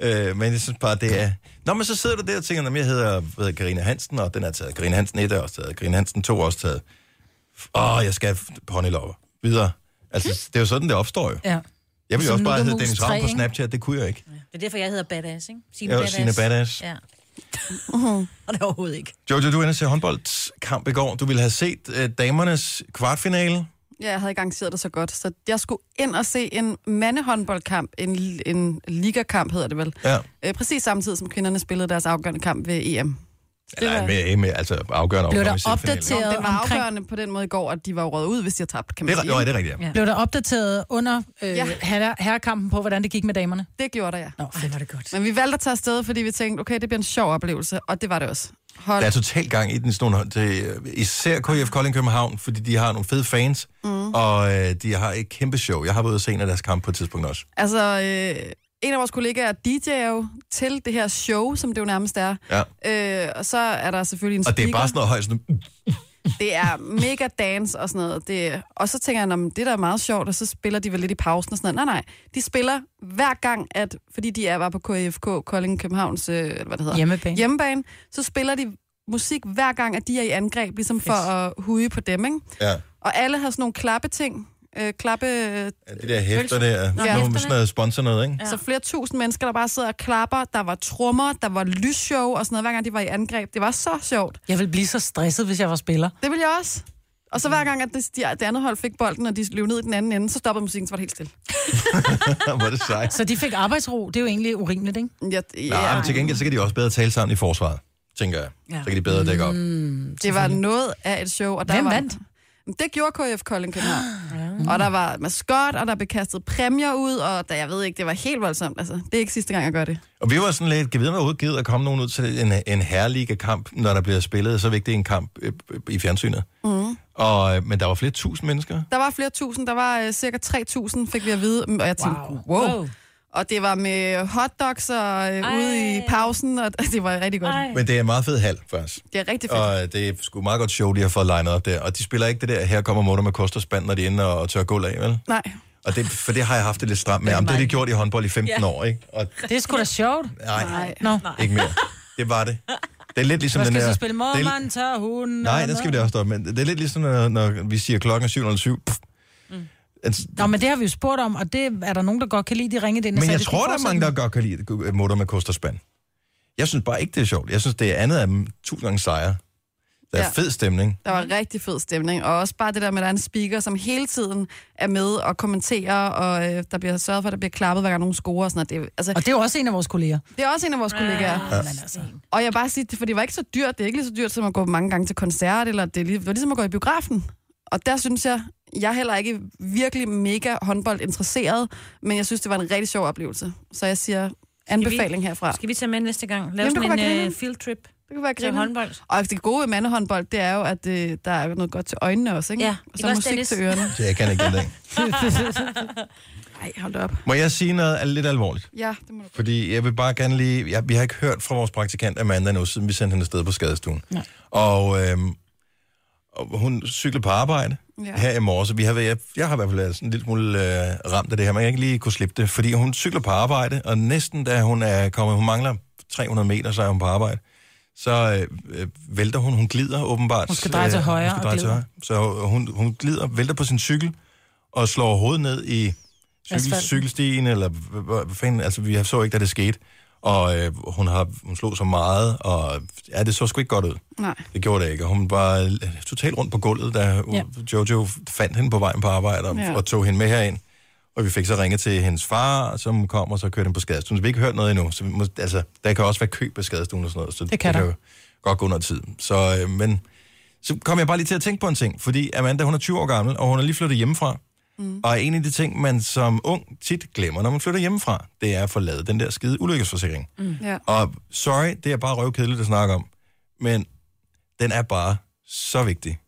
Speaker 3: Ja.
Speaker 1: Øh, men jeg synes bare, det er... Nå, men så sidder du der og tænker, at jeg hedder hvad hedder Karina Hansen, og den er taget. Karina Hansen 1 er også taget. Karina Hansen 2 er også taget. Åh, jeg skal have ponylover. Videre. Altså, det er jo sådan, det opstår jo.
Speaker 2: Ja.
Speaker 1: Jeg ville jo
Speaker 2: Som
Speaker 1: også bare
Speaker 2: Nuka
Speaker 1: hedde
Speaker 2: Mus
Speaker 1: Dennis Ram
Speaker 2: 3,
Speaker 1: på
Speaker 2: ikke?
Speaker 1: Snapchat. Det kunne jeg ikke.
Speaker 3: hest. Det er derfor, jeg hedder Badass, ikke? Sine
Speaker 1: Jo, Signe Badass.
Speaker 3: Ja. Og det er overhovedet ikke.
Speaker 1: Jojo, du var inde og se håndboldkamp i går. Du ville have set øh, damernes kvartfinale.
Speaker 6: Ja, jeg havde garanteret det så godt. Så jeg skulle ind og se en mandehåndboldkamp, en, en ligakamp hedder det vel,
Speaker 1: Ja.
Speaker 6: øh, præcis samtidig som kvinderne spillede deres afgørende kamp ved E EM.
Speaker 1: Eller med, med, altså afgørende
Speaker 2: Blev
Speaker 1: om,
Speaker 2: der
Speaker 1: om i semifinalen.
Speaker 2: opdateret?
Speaker 6: Om det var
Speaker 2: Omkring-
Speaker 6: afgørende på den måde i går, at de var jo røget ud, hvis de havde tabt, kan man
Speaker 1: Det er,
Speaker 6: sige.
Speaker 1: jo,
Speaker 6: ikke?
Speaker 1: det er rigtigt. Ja.
Speaker 2: Blev der opdateret under øh,
Speaker 6: Ja.
Speaker 2: ja. herre, herrekampen på, hvordan det gik med damerne?
Speaker 6: det gjorde der, ja.
Speaker 2: Nå, fedt. var det godt.
Speaker 6: Men vi valgte at tage afsted, fordi vi tænkte, okay, det bliver en sjov oplevelse, og det var det også. Hold
Speaker 1: Der er total gang i den sådan nogle- det, især KF Kolding København, fordi de har nogle fede fans, mm. og øh, de har et kæmpe show. Jeg har været ude og se en af deres kampe på et tidspunkt også.
Speaker 6: Altså, øh, en af vores kollegaer er DJ'er jo til det her show, som det jo nærmest er.
Speaker 1: Ja.
Speaker 6: Øh, og så er der selvfølgelig en
Speaker 1: Og det
Speaker 6: speaker.
Speaker 1: er bare sådan noget højt, sådan,
Speaker 6: Det er mega dance og sådan noget. Det, og så tænker jeg, "Nå, men det der er meget sjovt, og så spiller de vel lidt i pausen og sådan noget. Nej, nej. De spiller hver gang, at, fordi de er bare på KFK, Kolding Københavns, øh, eller hvad det hedder,
Speaker 2: Hjemmebane.
Speaker 6: hjemmebane, så spiller de musik hver gang, at de er i angreb, ligesom for at hude på dem, ikke?
Speaker 1: ja,
Speaker 6: Og alle har sådan nogle klappeting, øh, klappe...
Speaker 1: de der hæfter der,
Speaker 6: Ja.
Speaker 1: ja. sådan noget sponsor noget, [LAUGHS] ikke?
Speaker 6: Ja. Så flere tusind mennesker, der bare sidder og klapper. Der var trommer, der var lysshow og sådan noget, hver gang de var i angreb. Det var så sjovt.
Speaker 2: Jeg ville blive så stresset, hvis jeg var spiller.
Speaker 6: Det ville jeg også. Og så hver gang, at det, de, det andet hold fik bolden, og de løb ned i den anden ende, så stoppede musikken, så var det helt stille.
Speaker 1: Hvor er det sejt.
Speaker 2: Så de fik arbejdsro. Det er jo egentlig urimeligt, ikke?
Speaker 6: Ja, ja.
Speaker 1: Nej, men til gengæld, så kan de også bedre tale sammen i forsvaret, tænker jeg. Ja. Så kan de bedre dække op. Mm,
Speaker 6: Det var noget af et show. Og der
Speaker 2: Hvem
Speaker 6: var,
Speaker 2: vandt?
Speaker 6: Jamen, Det gjorde KF Kolding København. Og der var maskot, og der blev kastet præmier ud, og der, jeg ved ikke, det var helt voldsomt. Altså, det er ikke sidste gang, jeg gør det.
Speaker 1: Og vi var sådan lidt, kan vi vide, om overhovedet gider at komme nogen ud til en, en herreliga-kamp, når der bliver spillet så vigtig en kamp øh, i fjernsynet.
Speaker 6: Mm.
Speaker 1: Og, øh, men der var flere tusind mennesker.
Speaker 6: Der var flere tusind, der var øh, cirka 3.000, fik vi at vide, og jeg tænkte, wow. wow. Og det var med hotdogs og øh, ude i pausen, og [LAUGHS] det var rigtig godt. Ej.
Speaker 1: Men det er en meget fed hal, faktisk.
Speaker 6: Det er rigtig fedt.
Speaker 1: Og det er sgu meget godt show, de har fået legnet op der. Og de spiller ikke det der, her kommer mutter med kost og spand, når de er inde og, og tør gulv af, vel?
Speaker 6: Nej.
Speaker 1: Og det, for det har jeg haft det lidt stramt med. Jamen, det har de gjort i håndbold i 15
Speaker 2: Ja.
Speaker 1: år, ikke? Og
Speaker 2: Det er sgu da sjovt.
Speaker 1: Nej. Nej.
Speaker 2: Nå.
Speaker 1: ikke mere. Det var det. Det er lidt ligesom
Speaker 2: Hvad
Speaker 1: den
Speaker 2: skal
Speaker 1: der...
Speaker 2: så spille?
Speaker 1: det er-
Speaker 2: Mormand, tør hun.
Speaker 1: Nej, den skal vi da også stoppe med. Det er lidt ligesom, når, når vi siger klokken er 7.07. Altså,
Speaker 2: Mm. Nå, men det har vi jo spurgt om, og det er der nogen, der godt kan lide, de ringede ind og
Speaker 1: Men
Speaker 2: sagde,
Speaker 1: jeg
Speaker 2: det
Speaker 1: tror,
Speaker 2: skulle
Speaker 1: der er mange, der godt kan lide øh, mutter med kost og spand. Jeg synes bare ikke, det er sjovt. Jeg synes, det er andet af dem tusind gange sejre. Der er
Speaker 6: Ja.
Speaker 1: ja. fed stemning.
Speaker 6: Der
Speaker 3: Mhm.
Speaker 6: var rigtig fed stemning, og også bare det der med, at der er en speaker, som hele tiden er med og kommenterer, og øh, der bliver sørget for, at der bliver klappet, hver gang nogen scorer og sådan noget. Det, er jo- altså,
Speaker 2: Og det er jo også en af vores kolleger.
Speaker 6: det er også en af vores kollegaer.
Speaker 1: Ja.
Speaker 6: Og jeg vil bare sige, det- for det var ikke så dyrt. Det er ikke lige så dyrt, som at gå mange gange til koncert, eller det, er lige, det var ligesom at gå i biografen. Og der synes jeg, jeg er heller ikke virkelig mega håndbold interesseret, men jeg synes, det var en rigtig sjov oplevelse. Så jeg siger anbefaling herfra.
Speaker 3: Skal vi tage med næste gang? Lave
Speaker 6: Jamen, det
Speaker 3: sådan
Speaker 6: kunne være
Speaker 3: en uh,
Speaker 6: grineren.
Speaker 3: field trip
Speaker 6: Det kunne være
Speaker 3: til
Speaker 6: griner.
Speaker 3: håndbold.
Speaker 6: Og det gode ved mandehåndbold, det er jo, at øh, der er jo noget godt til øjnene også, ikke?
Speaker 3: Ja,
Speaker 6: og
Speaker 3: ikke
Speaker 6: så
Speaker 3: også,
Speaker 6: musik
Speaker 3: Dennis?
Speaker 6: til ørerne.
Speaker 1: Så jeg kan ikke den dag.
Speaker 6: Nej, hold op.
Speaker 1: Må jeg sige noget er lidt alvorligt?
Speaker 6: [LAUGHS] Ja, det må du.
Speaker 1: Fordi jeg vil bare gerne lige... Jeg, vi har ikke hørt fra vores praktikant Amanda nu, siden vi sendte hende afsted på skadestuen.
Speaker 2: Nej.
Speaker 1: Og, øhm, og hun cykler på arbejde
Speaker 6: Ja.
Speaker 1: ja. her i morges. og Vi har, været- jeg, jeg har i hvert fald været sådan en lille smule øh, ramt af det her, men jeg har ikke lige kunne slippe det. Fordi hun cykler på arbejde, og næsten da hun er kommet... Hun mangler 300 meter, så er hun på arbejde. Så øh, øh, vælter hun. Hun glider åbenbart.
Speaker 2: Hun skal dreje til
Speaker 1: Øh, Hun
Speaker 2: højre
Speaker 1: skal
Speaker 2: og
Speaker 1: dreje til
Speaker 2: glider.
Speaker 1: højre. Så hun, hun glider, vælter på sin cykel og slår hovedet ned i cykel,
Speaker 2: Asfalten.
Speaker 1: cykelstien, eller h- h- hvad fanden, altså vi så ikke, da det skete. Og øh, hun, har, hun slog så meget, og ja, det så sgu ikke godt ud.
Speaker 6: Nej.
Speaker 1: Det gjorde det ikke, og hun var øh, totalt rundt på gulvet, da ja.
Speaker 2: Ja.
Speaker 1: Jojo fandt hende på vejen på arbejde, og,
Speaker 6: Ja.
Speaker 1: ja. og tog hende med herind. Og vi fik så ringet til hendes far, som kom, og så kørte hende på skadestuen. Så vi har ikke hørt noget endnu. Så vi må, altså, der kan også være kø på skadestuen og sådan noget, så
Speaker 2: Det
Speaker 1: det
Speaker 2: kan der.
Speaker 1: kan jo godt gå under tid. Så, øh, men så kom jeg bare lige til at tænke på en ting, fordi Amanda, hun er 20 år gammel, og hun er lige flyttet hjemmefra. Mm. Og en af de ting, man som ung tit glemmer, når man flytter hjemmefra, det er at få lavet den der skide ulykkesforsikring.
Speaker 6: Ja.
Speaker 1: Og sorry, det er bare røvkedeligt at snakke om, men den er bare så vigtig.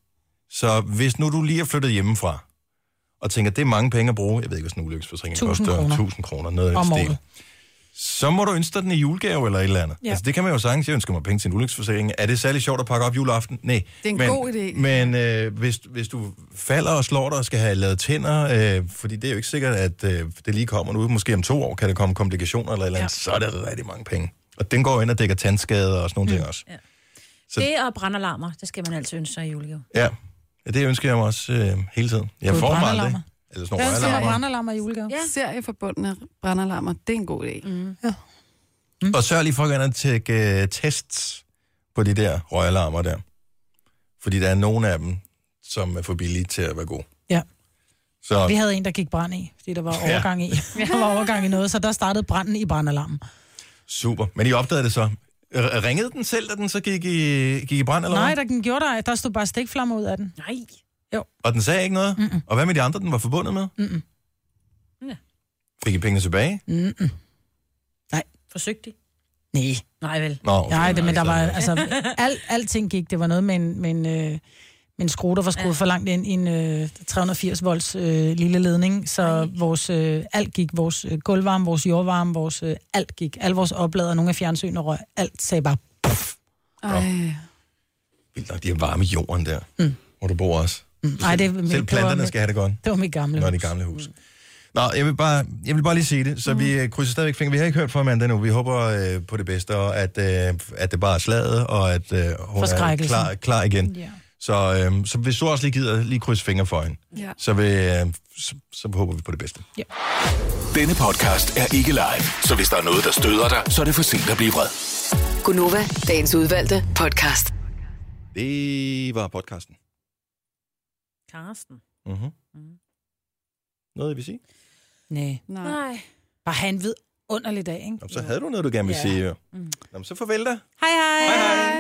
Speaker 1: Så hvis nu du lige er flyttet hjemmefra, og tænker, det er mange penge at bruge, jeg ved ikke, hvad sådan en ulykkesforsikring
Speaker 2: 1000
Speaker 1: koster,
Speaker 2: kroner.
Speaker 1: 1000 kroner, noget af
Speaker 2: Om
Speaker 1: den stil,
Speaker 2: året.
Speaker 1: så må du ønske dig den i julegave eller et eller andet.
Speaker 2: Ja.
Speaker 1: Ja. Altså, det kan man jo sagtens, jeg ønsker mig penge til en ulykkesforsikring. Er det særlig sjovt at pakke op juleaften? Nej.
Speaker 6: Det er en god idé.
Speaker 1: Men øh, hvis, hvis du falder og slår dig og skal have lavet tænder, øh, fordi det er jo ikke sikkert, at øh, det lige kommer nu, måske om to år kan der komme komplikationer eller et eller andet, ja. så er det rigtig mange penge. Og den går ind og dækker tandskader og sådan nogle mm. ting også. Så-
Speaker 3: Det og brandalarmer, det skal man altid ønske sig i julegave.
Speaker 1: Ja. ja, det ønsker jeg mig også øh, hele tiden. Jeg
Speaker 2: Både
Speaker 1: får mig aldrig.
Speaker 2: brandalarmer.
Speaker 1: Eller sådan
Speaker 2: Jeg
Speaker 1: nogle
Speaker 2: ønsker mig
Speaker 1: røgalarmer.
Speaker 2: brandalarmer i julegave.
Speaker 6: Ja. Serieforbundne brandalarmer, det er en god idé. Mm.
Speaker 1: Og sørg lige for at gå ind og tjekke uh, tests på de der røgalarmer der. Fordi der er nogle af dem, som er for billige til at være gode.
Speaker 2: Ja.
Speaker 1: Så
Speaker 2: Vi havde en, der gik brand i, fordi der var
Speaker 1: Ja.
Speaker 2: overgang i. [LAUGHS] Der var overgang i noget, så der startede branden i brandalarmen.
Speaker 1: super. Men I opdagede det så. R- ringede den selv, da den så gik i, gik i brand, eller
Speaker 2: Nej,
Speaker 1: hvad?
Speaker 2: der, den gjorde der, der stod bare stikflammer ud af den.
Speaker 3: Nej.
Speaker 1: Og den sagde ikke noget?
Speaker 2: Mm-mm.
Speaker 1: Og hvad med de andre, den var forbundet med?
Speaker 2: Mm-mm. Mm.
Speaker 3: Ja.
Speaker 1: Fik I pengene tilbage?
Speaker 2: Mm-mm.
Speaker 3: Forsøgtig.
Speaker 2: Nej,
Speaker 3: Nej vel.
Speaker 1: Nå, okay,
Speaker 2: nej, det, men der var,
Speaker 1: så-
Speaker 2: altså, al, alting gik. Det var noget med en, med en, øh, med en skrue, der var skruet for langt ind i en øh, 380 volts øh, lille ledning, så vores, øh, alt gik, vores øh, gulvvarme, vores jordvarme, vores, øh, alt gik. Al vores oplader, nogle af fjernsyn og røg, alt sagde bare, mm,
Speaker 6: Ej.
Speaker 1: Vildt nok, de har varme i jorden der,
Speaker 2: Mm.
Speaker 1: mm. hvor du bor også.
Speaker 2: mm, nej, det, det,
Speaker 1: Selv
Speaker 2: det, var, Mm.
Speaker 1: planterne
Speaker 2: mit-
Speaker 1: skal have det godt.
Speaker 2: det var mit gamle
Speaker 1: Nå,
Speaker 2: hus.
Speaker 1: det gamle hus. Nå, jeg vil, bare, jeg vil bare lige sige det, så mm. vi øh, krydser stadigvæk fingre. Vi har ikke hørt fra Amanda nu. Vi håber øh, på det bedste, og at, øh, at det bare er slaget, og at øh, hun er
Speaker 2: Forskrækkelsen.
Speaker 1: klar, klar igen.
Speaker 2: Ja.
Speaker 1: Så, øh, så hvis du også lige gider lige krydse fingre for hende,
Speaker 6: Ja.
Speaker 1: så, vil, øh, så, så håber vi på det bedste.
Speaker 4: Denne podcast er ikke live, så hvis der er noget, der støder dig, så er det for sent at blive vred.
Speaker 5: Gunova, dagens udvalgte podcast.
Speaker 1: Det var podcasten.
Speaker 3: Karsten.
Speaker 1: Mm-hmm. Mm. Noget, jeg vil sige?
Speaker 2: Nej.
Speaker 3: Nej.
Speaker 2: Bare han ved underlig dag, ikke?
Speaker 1: Nå, så havde du noget, du gerne ville
Speaker 2: Ja.
Speaker 1: sige. jo.
Speaker 2: Mm.
Speaker 1: Nå, men så farvel da.
Speaker 3: Hej hej.
Speaker 1: Hej, hej.